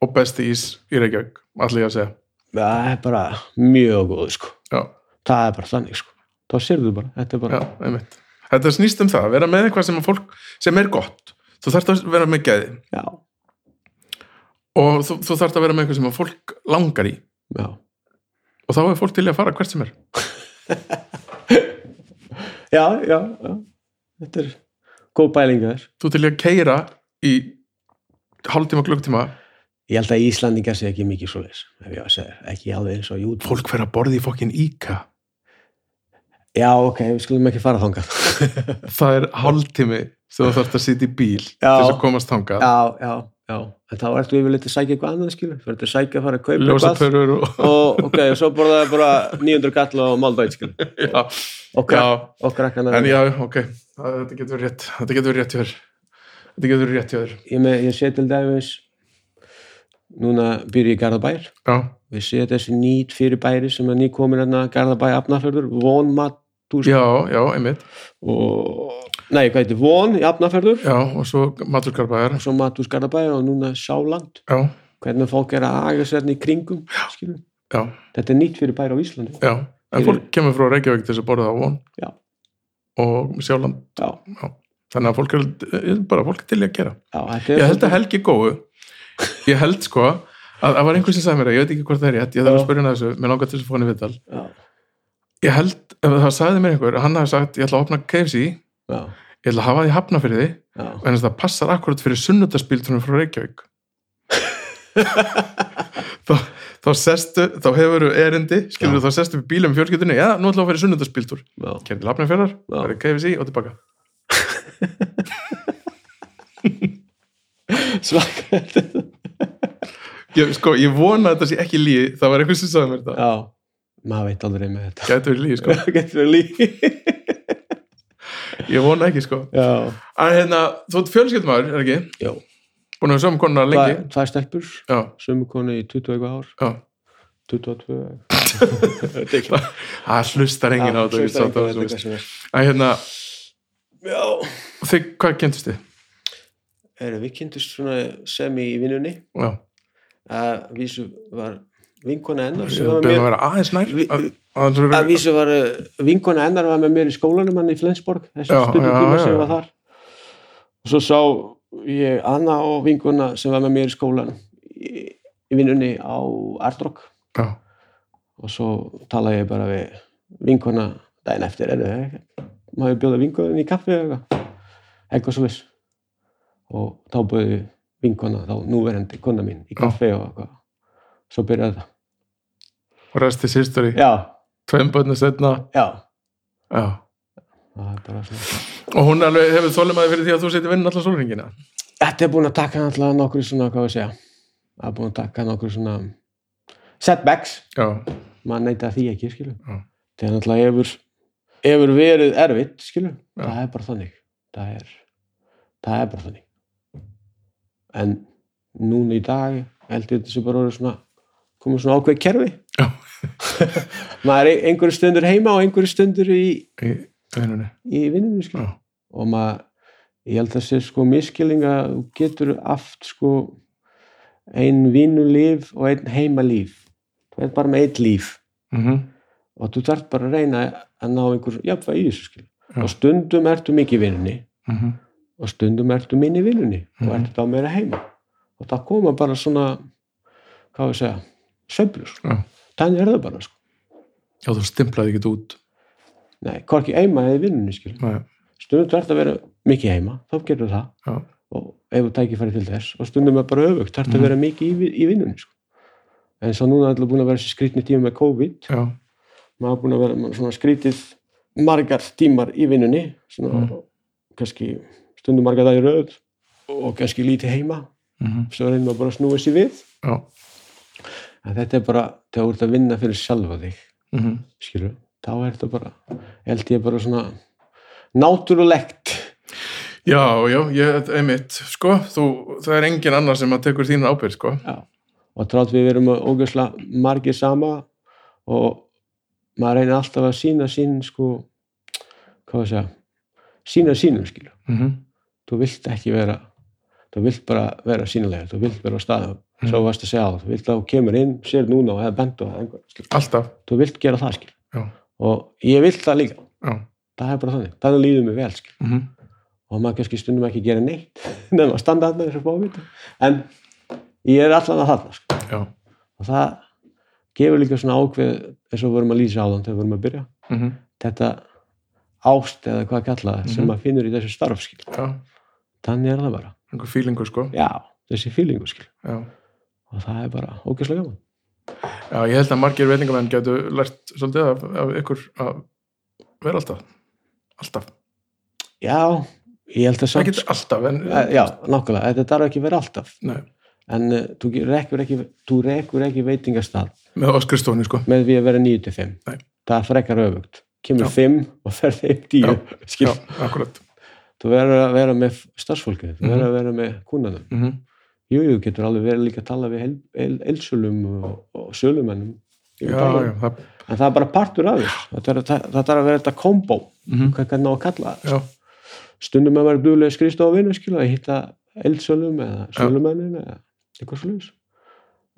og besti ís í Reykjavík allir ég að segja
Það er bara mjög góð, sko.
já,
Það er bara þannig, sko. Þá sérðu bara, þetta er
já,
bara,
einmitt. þetta snýst um það, að vera með eitthvað sem, að fólk, sem er gott þú þarft að vera með geði
já,
og þú, þú þarft að vera með eitthvað sem að fólk langar í
já.
og þá er fólk til í að fara hvert sem er
Já, já, já. Þetta er góð bælinga þess.
þú til í að keira í hálftíma, klukktíma
Ég held að Íslandingar sé ekki mikið svoleiðis, ef ég á að segja, ekki alveg eins og jút.
fólk fer að borða í fokkin íka
Já, ok, við skulum ekki fara þangað.
það er hálftími sem þú þarft að sitja í bíl til
Já.
þess að komast þangað
já, já, já, en þá ertu yfirleitt að sækja eitthvað annað, skilur, fyrir að sækja að fara að kaupa eitthvað
ljósapörur og
og ok, og svo borðaði bara 900 kall og máldæt, skilur,
já,
og,
já,
krak, og krakkana.
en já, ok Það- þetta getur verið rétt þetta getur verið rétt hjá þér þetta getur verið rétt hjá þér
Ég, með, ég sé til dæmis, núna býr ég í Garðabær,
já,
við sé þessi nýt fyrir bæri sem er nýkomin hérna Garðabæ afnafjörður, von matús
Já, já, einmitt
og, nei, hvað heitir, von í afnafjörður,
Já, og svo Matur Garbaðar
svo matús Garðabæ og núna Sjáland.
Já,
hvernig fólk er að aga sérna í kringum skilur.
já,
þetta er nýtt fyrir bæri á Íslandi
já En
Fyrir-
fólk kemur frá Reykjavík til þess að borða á von
Já.
Og sjáland
já,
Þannig að fólk er er bara fólk er til í að gera
já, þetta er
Ég held að Helgi góðu Ég held sko að það var einhver sem sagði mér að ég veit ekki hvort það er rétt Ég þarf að
Já.
spyrja hann að þessu, mér langar til þess að fá hann í viðtal
já,
Ég held, ef það sagði mér einhver að Hann hafi sagt, ég ætla að opna KFC Ég
já,
ætla að hafa því hafna fyrir því
já.
En það passar akkurat fyrir sunnudaspíltunum frá Reykjavík þá, þá sestu þá hefur þú erindi, skilur
Já.
þá sestu við bílum fjölskyldinu, já, nú ætlum við að fyrir sunnudaspíltur
já.
kemur til Hafnarfjörðar,
Já.
það er KFC og tilbaka
svaka
ég, sko, ég vona að þetta sé ekki líi það var eitthvað sem sagði mér þetta
já, maður veit aldrei með þetta
gæti verið líi, sko,
það getur verið líki
ég vona ekki, sko
já,
en hérna, þú ert fjölskyldmaður, er ekki
já,
búin að við saman konuna lengi
Tva- tvær stelpur
já,
sömu konu í 20 eitthvað ár
já,
22 Þetta er ekki-
það hlustar enginn á
Já,
þetta, ég
hlustar
sá
enginn á
það,
þetta,
þú veist.
hvað sem er.
En hérna,
já,
þig, hvað kynntust þið?
Heyrðu, við kynntist svona semi í vinnunni
Já,
að vísu var vinkona ennar
ég
sem var mér
beðum að vera aðeins nær
Vi-
að- aðeins að vera-
að vísu var uh, vinkona hennar var með mér í skólanum hann í Flensborg þessu
Já,
stundum
já,
tíma
já,
sem
já.
ég var þar og svo sá ég Anna og vinkona sem var með mér í skólanum í, í vinnunni á Ardrock
Já,
og svo talaði ég bara við vinkona daginn eftir er maður bjóða vinkonin í kaffi eða eitthvað eitthvað svo viss og þá bjóði vinkona þá núverandi kona mín í kaffi og eitthvað svo byrjaði það
og resti sýstur í
já,
tveim bönnu setna
já
já,
það er bara svona
Og hún alveg hefur þólimaði fyrir því að þú setir vinn allan sólringina.
Þetta er búin að taka náttúrulega nokkur svona, hvað við segja það er búin að taka nokkur svona setbacks,
Já,
maður neyta því ekki skilu,
Já.
þetta er náttúrulega hefur, hefur verið erfitt skilu
Já.
það er bara þannig það er, það er bara þannig en núna í dag held ég þetta sem bara orðið svona komið svona ákveð kerfi
Já.
maður er einhverju stundur heima og einhverju stundur í,
í vinnunni.
í vinnunni skilu
Já,
og maður ég held að sé sko miskiling að þú getur aft sko ein vinnulíf og ein heimalíf þú er bara með eitt líf
mm
og þú þarf bara að reyna að ná einhver jafnvæg í þessu skil
Já.
og stundum ertu mikið í vinnunni og stundum ertu minni í vinnunni og
Mhm.
ertu þá meira heima og það koma bara svona hvað á ég að segja, söflur
Já.
þannig er það bara sko
Já, þú stimplaði ekki út.
nei, hvorki heima eða í vinnunni skil
Nei,
stundum þú ert að vera mikið heima þá getur það
Já.
og ef þú tækifæri til þess og stundum er bara öfugt, þú ert
Mhm.
að vera mikið í, vi- í vinnunni sko. en svo núna er alltaf búin að vera þessi skrítni tíma með COVID
já,
maður er búin að vera með svona skrítið margar tímar í vinnunni svona,
Mhm.
kannski stundum margar dagir öð og kannski lítið heima
mhm,
svo reynir maður bara að snúa sér við
já,
en þetta er bara þegar þú ert að vinna fyrir sjálfa þig
mhm,
skilur, þá er þetta bara held ég bara svona náttúrulegt
já, já, ég, einmitt, sko, þú, það er engin annar sem að tekur þínu ábyrgð, sko.
og trátt við verum ógjörslega margir sama og maður reynir alltaf að sína sín sko, hvað að segja sína sínum skilu,
Mhm,
þú vilt ekki vera þú vilt bara vera sínilega þú vilt vera á staðum, svo varst að segja á þú vilt að þú kemur inn, sér núna og eða bentu eða einhver, skilu.
Alltaf,
þú vilt gera það skilu
Já.
og ég vilt það líka
já,
það er bara þannig, þannig líður mér vel skilu
mhm,
og maður kannski stundum ekki gera neitt nefnum að standa þarna eins og bóvita en ég er allan að þarna sko. sk
já,
og það gefur líka svona ákveð eins og við vorum að lýsa áðan þegar við vorum að byrja
mhm,
þetta ást eða hvað kalla það sem
Mhm.
maður finnur í þessu starfskil
já,
þannig er það bara,
einhver fílingur, sko,
já, þessi feelingu skil
já.
og það er bara ógeðslega gaman
Já, ég held að margir veitingamenn getu lært svolítið af, af ykkur að vera alltaf, alltaf,
já, ég held að samt
ekkert alltaf, en,
Eh, já, nákvæmlega, þetta þarf ekki að vera alltaf
nei,
en uh, þú ge- rekur ekki, þú rekur ekki veitingastað
með Óskristofni, sko.
með því að vera 9-5
Nei.
það er frekar öfugt, kemur
Já.
5 og fer þeim 10 skil,
Já, akkurat.
þú verður að vera með starfsfólkið, þú verður að vera með kúnanum
Mhm,
Jú, jú, getur alveg verið líka að tala við el- el- elsölum og, og sölumennum. Ég veit
Já,
alveg.
já, það,
En það er bara partur af þér. Það þarf að- það þarf að vera þetta kombo,
mhm,
hvað kannu á að kalla það.
já,
Stundum að vera duðlega skrifst á vinnu, skilu, að hitta elsölum eða sölumennin eða eitthvað slúðis.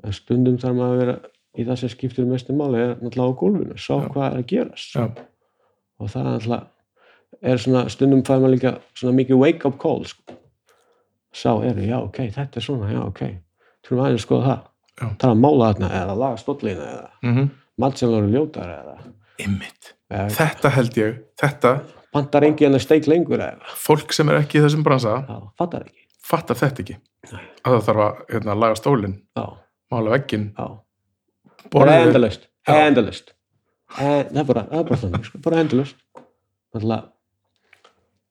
En stundum þarf maður að vera í það sem skiptir mestum máli er náttúrulega á gólfinu, sá
Já.
hvað er að gerast.
já,
Og það er náttúrulega, er svona, stundum fær maður líka svona mikið wake-up call, sko. Sá, er, já, ok, þetta er svona, já, ok. Trúum aðeins að skoða það
já,
það er að mála þarna eða laga stóllina eða
mhm.
matselur ljótar eða,
Ymmit.
eða
Þetta held ég, þetta,
pantar engin að steik lengur eða
fólk sem er ekki í þessum bransa,
já, fattar ekki
fattar þetta ekki. Að það þarf að hérna, laga stólinn,
já,
mála vegginn,
já. bara
borðið.
endalust
Já.
endalust En- það er bara, það er bara þannig sko, bara endalust alltaf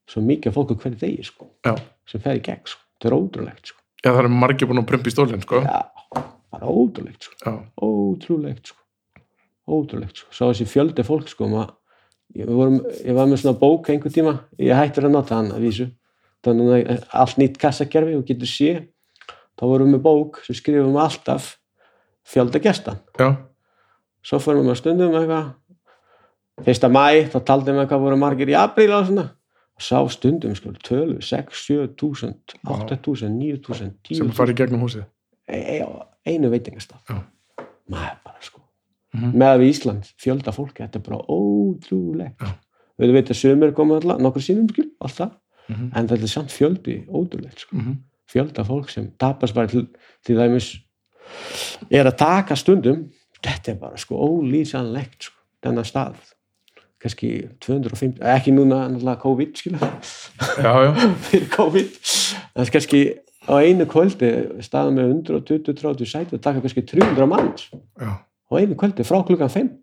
svo mikið af fólk á hverju degi sko
Já.
sem fer í gegn sko, þetta er ótrúlegt sko
Já, það er margir búin að prumpa í stólinn, sko.
já, bara ótrúlegt sko
Já,
ótrúlegt sko ótrúlegt sko, svo þessi fjöldi fólk sko maður, ég, við vorum, ég var með svona bók einhver tíma, ég hættur að nota hann að vísu, þannig að allt nýtt kassakerfi og getur sé þá vorum við með bók sem skrifum alltaf fjölda gestan,
já,
svo fórum við að stundum eitthvað fyrsta mæ, þá taldum við hvað voru margir í apríl og svona og sá stundum sko, tölu 6, 7, 1000, 8000, 9000
sem
10.000
farið gegnum húsið.
e- e- á einu veitingastaf
Já.
maður bara sko
Mhm.
með að við Ísland, fjölda fólki þetta er bara ótrúlegt
Já.
við veitum að sömur koma alltaf, nokkur sínum skil, alltaf,
Mhm,
en þetta er samt fjöldi ótrúlegt sko,
mhm,
fjölda fólk sem tapast bara til, til dæmis er að taka stundum þetta er bara sko ólýsanlegt sko, þennan stað kannski 250, ekki núna náttúrulega COVID skilja,
Já, já,
fyrir COVID en kannski á einu kvöldi staðum með 120-30 sæti að taka kannski 300 manns
já.
og einu kvöldi frá klukkan 5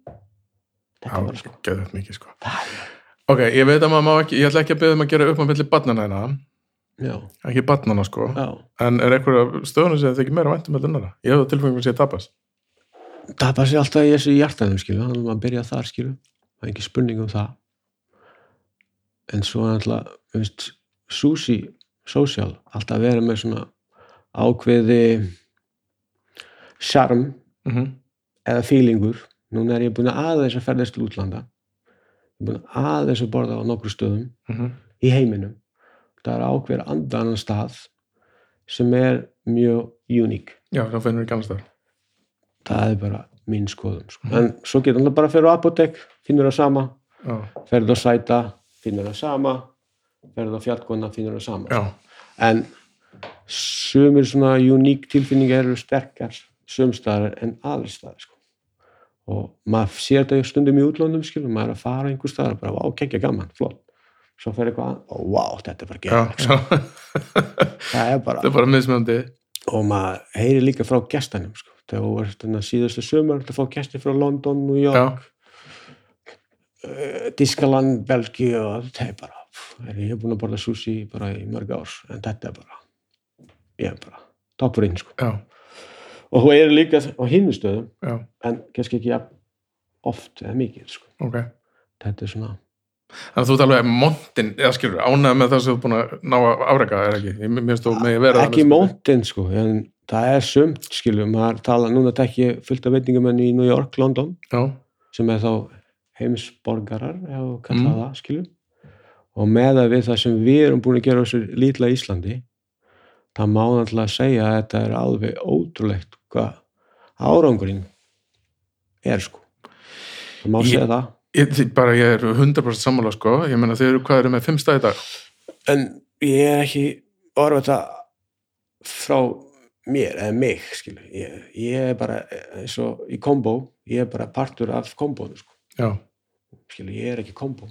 þetta
Já,
er bara sko
geðvægt mikið sko. Ok, ég veit að maður má ekki, ég ætla ekki að beða um að gera upp á milli barnana hérna,
já,
ekki barnana sko,
já.
en er einhverja stöðunum sem þið ekki meira um væntum með lennara? Ég hef það tilfengum sem ég tapast.
það bara sé alltaf í þessu hjartanum skilu þannig að maður byrja þar skilu það er ekki spurning um það en svo er alltaf þú veist, sushi, social alltaf að vera með svona ákveði charm
Mm
eða feelingur núna er ég búin að aðeins að ferðast til útlanda ég er búin að aðeins að borða á nokkru stöðum í heiminum það er ákveður andan stað sem er mjög uník
Já, þá finnum við ekki annars þar.
það er bara mín skoðum sko. en svo getur hann bara að fyrir á apotek finnur það sama,
Já,
ferð á sæta finnur það sama ferð á fjallkona, finnur það sama
já,
en sumir svona uník tilfinningar eru sterkar sumstaðar en aðri staðar sko. og maður sér þetta stundum í útlöndum skilur, maður er að fara einhver staðar og bara, vá, kekja gaman, flott svo fer eitthvað annað, og vá, þetta er bara
já,
gegn
já.
það er
það
bara,
er bara mismöndi.
og maður heyri líka frá gestanum sko. þegar þú var þarna síðustu sumar þetta fá gesti frá London, New
Já,
York uh, Diskaland, Belgíu og þetta er bara, pff, er ég hef búin að borða sushi bara í mörg ár, en þetta er bara ég er bara, toppurinn sko
já,
og þú eru líka á hinu stöðum
já,
en kannski ekki jafn oft eða mikið sko.
ok.
þetta er svona
Þannig að þú ert alveg montin, eða skilur, ánægð með það sem þú ert búin að ná að afreka, er ekki? Ég minnst þú með vera
ekki móntinn sko en það er sumt skilum maður tala núna tekki ég fullt af veitingamenn í New York, London
Já,
sem er þá heimsborgarar ef þú kalla
Mm.
það skilum og með að við það sem við erum búin að gera á þessu lítla Íslandi það má náttúrulega segja að þetta er alveg ótrúlegt hvað árangurinn er sko það má
Ég-
segja það
ég, þið- bara ég er 100% sammála sko, ég meina þið eru, hvað eru með fimm stæði í dag?
en ég er ekki orðið þetta frá mér eða mig skilu. Ég, ég er bara eins og í kombo, ég er bara partur af kombónu sko.
Já,
skilu, ég er ekki kombo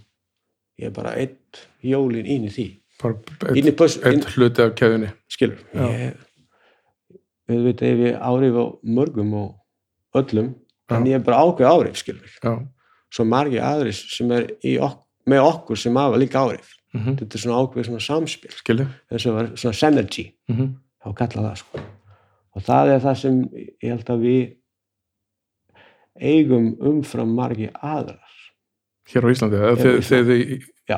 ég er bara eitt jólin inn í því
bara
inn í
eitt,
pöss, inn,
eitt hluti af keðunni.
skilur
Já.
ég, við veit ef ég árif á mörgum og öllum en
Já.
ég er bara ákveð árif skilur
Já,
svo margir aðrir sem er í ok með okkur sem hafa líka árif
mm
þetta er svona ákveð svona samspil
skilur.
eins og var svona synergy
Mm
þá kalla það sko og það er það sem ég held að við eigum umfram margi aðrar
Hér á Íslandi, eða
Já,
þið,
Íslandi.
þið, þið,
já,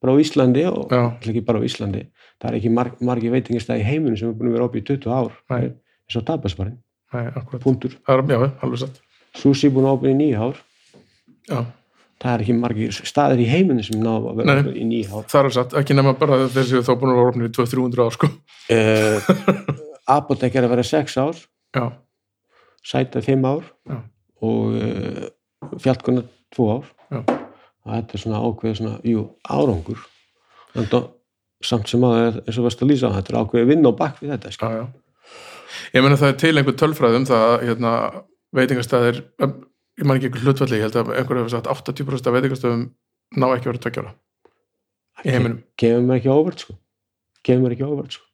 bara á Íslandi og
já,
ætla ekki bara á Íslandi það er ekki marg, margi veitingastæði í heiminu sem er búin að vera opið í 20 ár
Nei.
eins og tapasbarinn,
nei, akkurat.
punktur
Það er, já, alveg satt.
sushi búin að opið í 9 ár
Já,
það er ekki margi staðir í heiminu sem ná að vera
Nei.
opið í 9 ár
það er satt, ekki nema bara þessi þá búin að vera opnir í 200-300 ár sko.
uh, apotek er að vera 6 ár
Já,
sæta 5 ár
Já.
og uh, fjallkona 2 ár
Já.
og þetta er svona ákveð svona, jú, árangur en það samt sem að eins og varst að lýsa þetta er ákveð vinn á bak við þetta sko.
já,
skilur.
já. Ég meina það er til einhver tölfræðum það að hérna, veitingastæðir, ég man ekki einhver hlutvalli, ég held að einhver hefur sagt 80% af veitingastöðum ná ekki að vera tveggjára í heiminum.
kemur mér ekki á óvart sko kemur mér ekki á óvart sko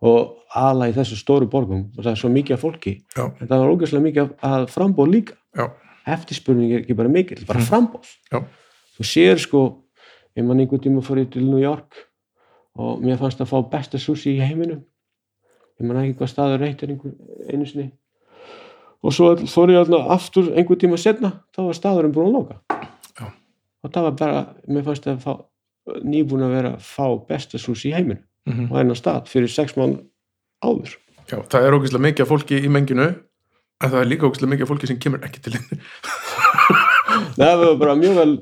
og ala í þessu stóru borgum og það er svo mikið af fólki
Já.
en það var ógæslega mikið af- að frambóð líka
Já.
eftirspurning er ekki bara mikil, bara frambóð
Já.
þú sér sko ég man einhvern tíma fór ég til New York og mér fannst að fá besta sushi í heiminum ég man ekki hvað staður reytir einhver, einu sinni og svo fór ég alltaf aftur einhvern tíma setna, þá var staðurinn búin að loka
Já.
og það var bara mér fannst að fá, nýbúin að vera að fá besta sushi í heiminum
Mhm.
á hennar stað fyrir sex mánu áður
Já, það er ógeðslega mikið af fólki í menginu en það er líka ógeðslega mikið af fólki sem kemur ekki til henni.
það var bara mjög vel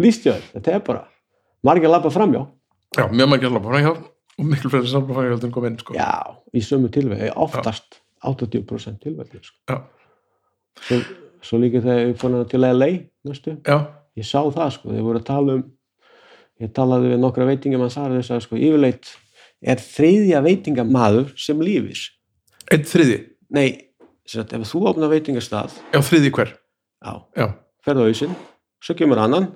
líst ég þetta er bara, margir lappa framjá
Já, mjög margir alveg fræðjá og miklu fleiri samla fræðjá heldur en kom inn sko.
Já, í sömu tilvæg, oftast 80% tilvæg sko.
Já.
svo, svo líka þegar ég fór hana til LA næstu,
Já,
ég sá það sko, þeir voru að tala um ég talaði við nokkra veitingamann sara þess að sko, yfirleitt er þriðja veitingamaður sem lífis
einn þriði,
nei, sem sagt, ef þú opna veitingastað
já þriði hver,
á,
já,
ferðu á hausinn svo kemur annan,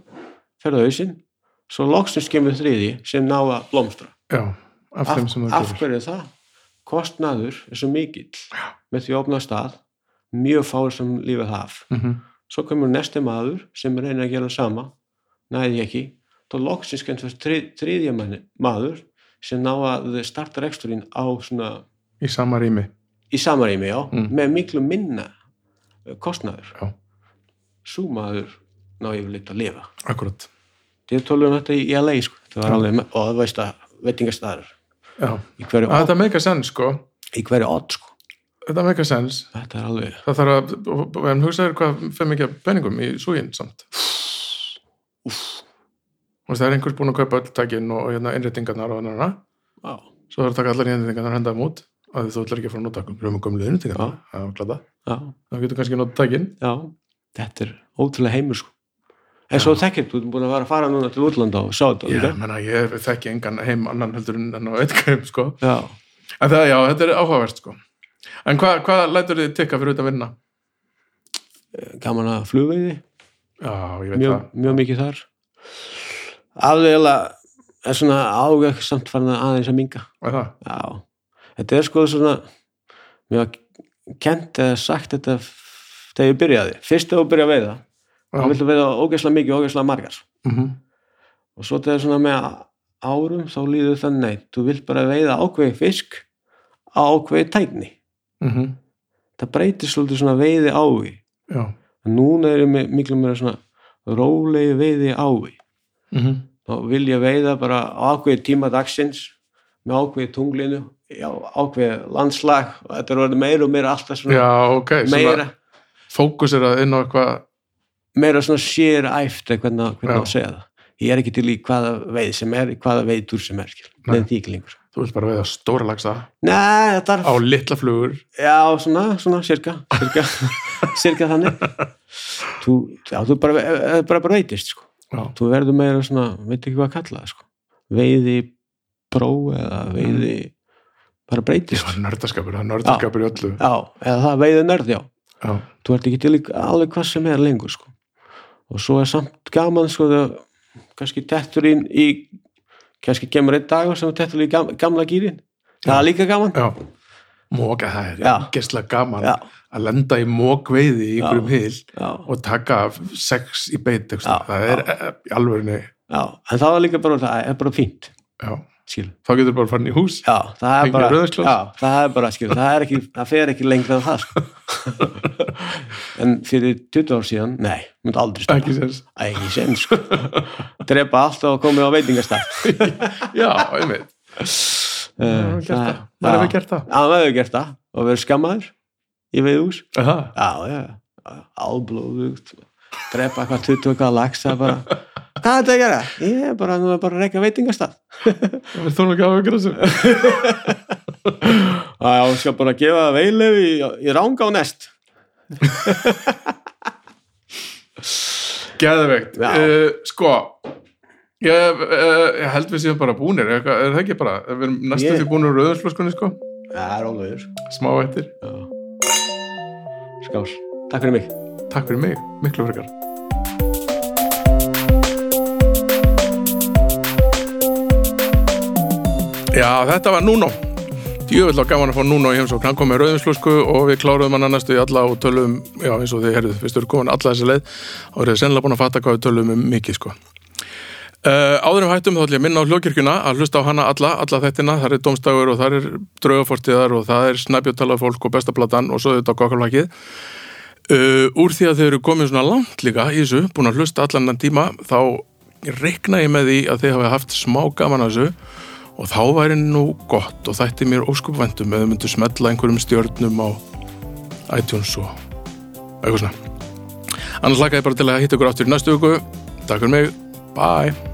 ferðu á hausinn svo loksins kemur þriði sem ná að blómstra
já, af þeim
af,
sem það
af
gerir.
hverju er það? kostnaður er svo mikill með því að opna stað mjög fáir sem lífið haf
Mhm.
svo kemur næsti maður sem reynir að gera það sama næði ekki þá loksins kemst þess tri, þriðja manni, maður sem ná að starta reksturinn á svona
í sama rými
í samarými, já,
Mm.
með miklu minna eh, kostnaður
Já.
svo maður ná yfirleitt að lifa
akkurat
þegar tölum þetta í LA sko. það var
Já.
alveg, og það veist að veitingastæður
já.
í hverju
þetta meika sens sko
odd- í hverju odd sko.
þetta meika sens
þetta er alveg
það þarf að, en hugsaður hvað fyrir mikið af peningum í súginn samt og það er einhvers búin að kaupa öll tækin og hérna innréttingarnar og hana
á,
svo þarf að taka allar innréttingarnar og henda þeim út af því þú ætlar ekki að fara að nota okkur römmum gömlu innréttingarnar já, glada
á,
þá getur kannski nota tækin
já, þetta er ótrúlega heimur sko. en svo þekkir, þú ert búin að fara að fara núna til útlanda og sjá þetta
Já,
líka.
ég menna, ég þekki engan heim annan heldur en en á eitthvað sko.
já,
En það, já, þetta er áhugavert, sko. En hva, hvað lætur þið tikka fyrir út að vinna?
gaman að flugveiði
Já, ég veit
mjög, mjög mikið þar alveg er svona ágæk samt farin að aðeins að minga
það. Er það.
já, þetta er sko svona mér var kent eða sagt þetta f- þegar ég byrjaði fyrst þegar ég byrjaði að veiða
Já.
þá viltu veiða ógeðslega mikið og ógeðslega margar
Mm
og svo þegar svona með árum þá líður það nei, þú vilt bara veiða ákveði fisk á ákveði tækni það breytir svolítið svona veiði ái
Mhm. Já.
núna erum við miklu meira svona rólegi veiði ái
Mm
þá vil ég veiða bara á ákveði tíma dagsins með ákveði tunglinu já, ákveði landslag og þetta er orðið meira og meira alltaf svona
Já, ok.
meira,
Fókus er að inn á eitthvað,
meira svona sér æft eða hvernig, á- hvernig á
Já.
að segja það ég er ekki til í hvaða veið sem er í hvaða veiður sem er, skil,
Nei.
neðan því ekki lengur
þú vilt bara veiða stóra lagsa
Nei, þetta er,
á litla flugur.
já, svona, svona, sirka sirka, sirka þannig þú, já, þú bara, eh, bara, bara veitist, sko
Já.
þú verður meira svona, veit ekki hvað að kalla það, sko veiði bró eða veiði bara
Já,
breytist já,
nördaskapur, það er nördaskapur í öllu.
eða það veiði nörð, já
Já.
þú ert ekki til í alveg hvað sem er lengur sko. og svo er samt gaman sko, það, kannski tettur inn í kannski kemur einn dagur sem þú tettur í gam, gamla gýrin það er líka gaman
Já. Móka, það
Já.
er gæstlega gaman
já,
að lenda í mókveiði í einhverjum hil
já,
og taka af sex í beit, já,
Já,
það er já. í alvörinni,
já, en það er líka bara það er bara fínt
já,
skil.
þá getur bara farin í hús.
já, það er
Fengið
bara,
rauðvínsglas?
já, það, er bara skil, það, er ekki, það fer ekki lengra en það sko. en fyrir 20 ár síðan, nei, myndi aldrei stoppa.
Ekki sens.
Æ, ekki sen sko. drepa allt og komið á veitingastætt
Já, einmitt.
Uh,
Það er við gert það.
Já, maður hefur gert það og verið skammaður í veiðhús.
Er það?
Já, já, já, áblóðugt, drepa eitthvað tuttu eitthvað lagsa bara. Hvað er þetta að gera? Ég er bara, nú er bara að reyka veitingastað.
Það er þóna ekki að auðvitað þessu.
Já, já, ég skal bara gefa veilef í, í ránga og nest.
Geðveikt.
Já.
Uh, sko, ég, uh, ég held við séum bara búnir. Er, er það ekki bara? Við erum næstu
Ég-
því búnir úr auðvitaðsflöskunni, sko.
Já, það er sko. ólegur.
Smá eftir.
Skál. Takk fyrir mig.
Takk fyrir mig. Miklu frekar. Já, þetta var Nuno. Djöfull á gaman að fá Nuno í heimsókn. Hann kom með rauðinslúsku og við kláruðum hann næstu í alla og tölum, já eins og þið herðuð, við stöðum komin alla þessi leið og eruð sennilega búin að fatta hvað við tölum um mikið sko. Uh, áður um hættum þá ætlum ég að minna á hljókirkjuna að hlusta á hana alla, alla þettina, þar er domstagur og þar er draugafortiðar og það er snabjóttalað fólk og bestaplatan og svo þetta á kokkalakið. Uh, úr því að þau eru komin svona langt líka í þessu, búin að hlusta allan þann tíma, þá reikna ég með því að þau hafi haft smá gaman að þessu og þá væri nú gott og þætti mér óskupvæntum eða myndu smetla einhverjum stjörnum á iTunes og eitthvað svona. Annars lakaði bara til að hitta ykkur aftur í næstu viku. Takk fyrir mig. Bye.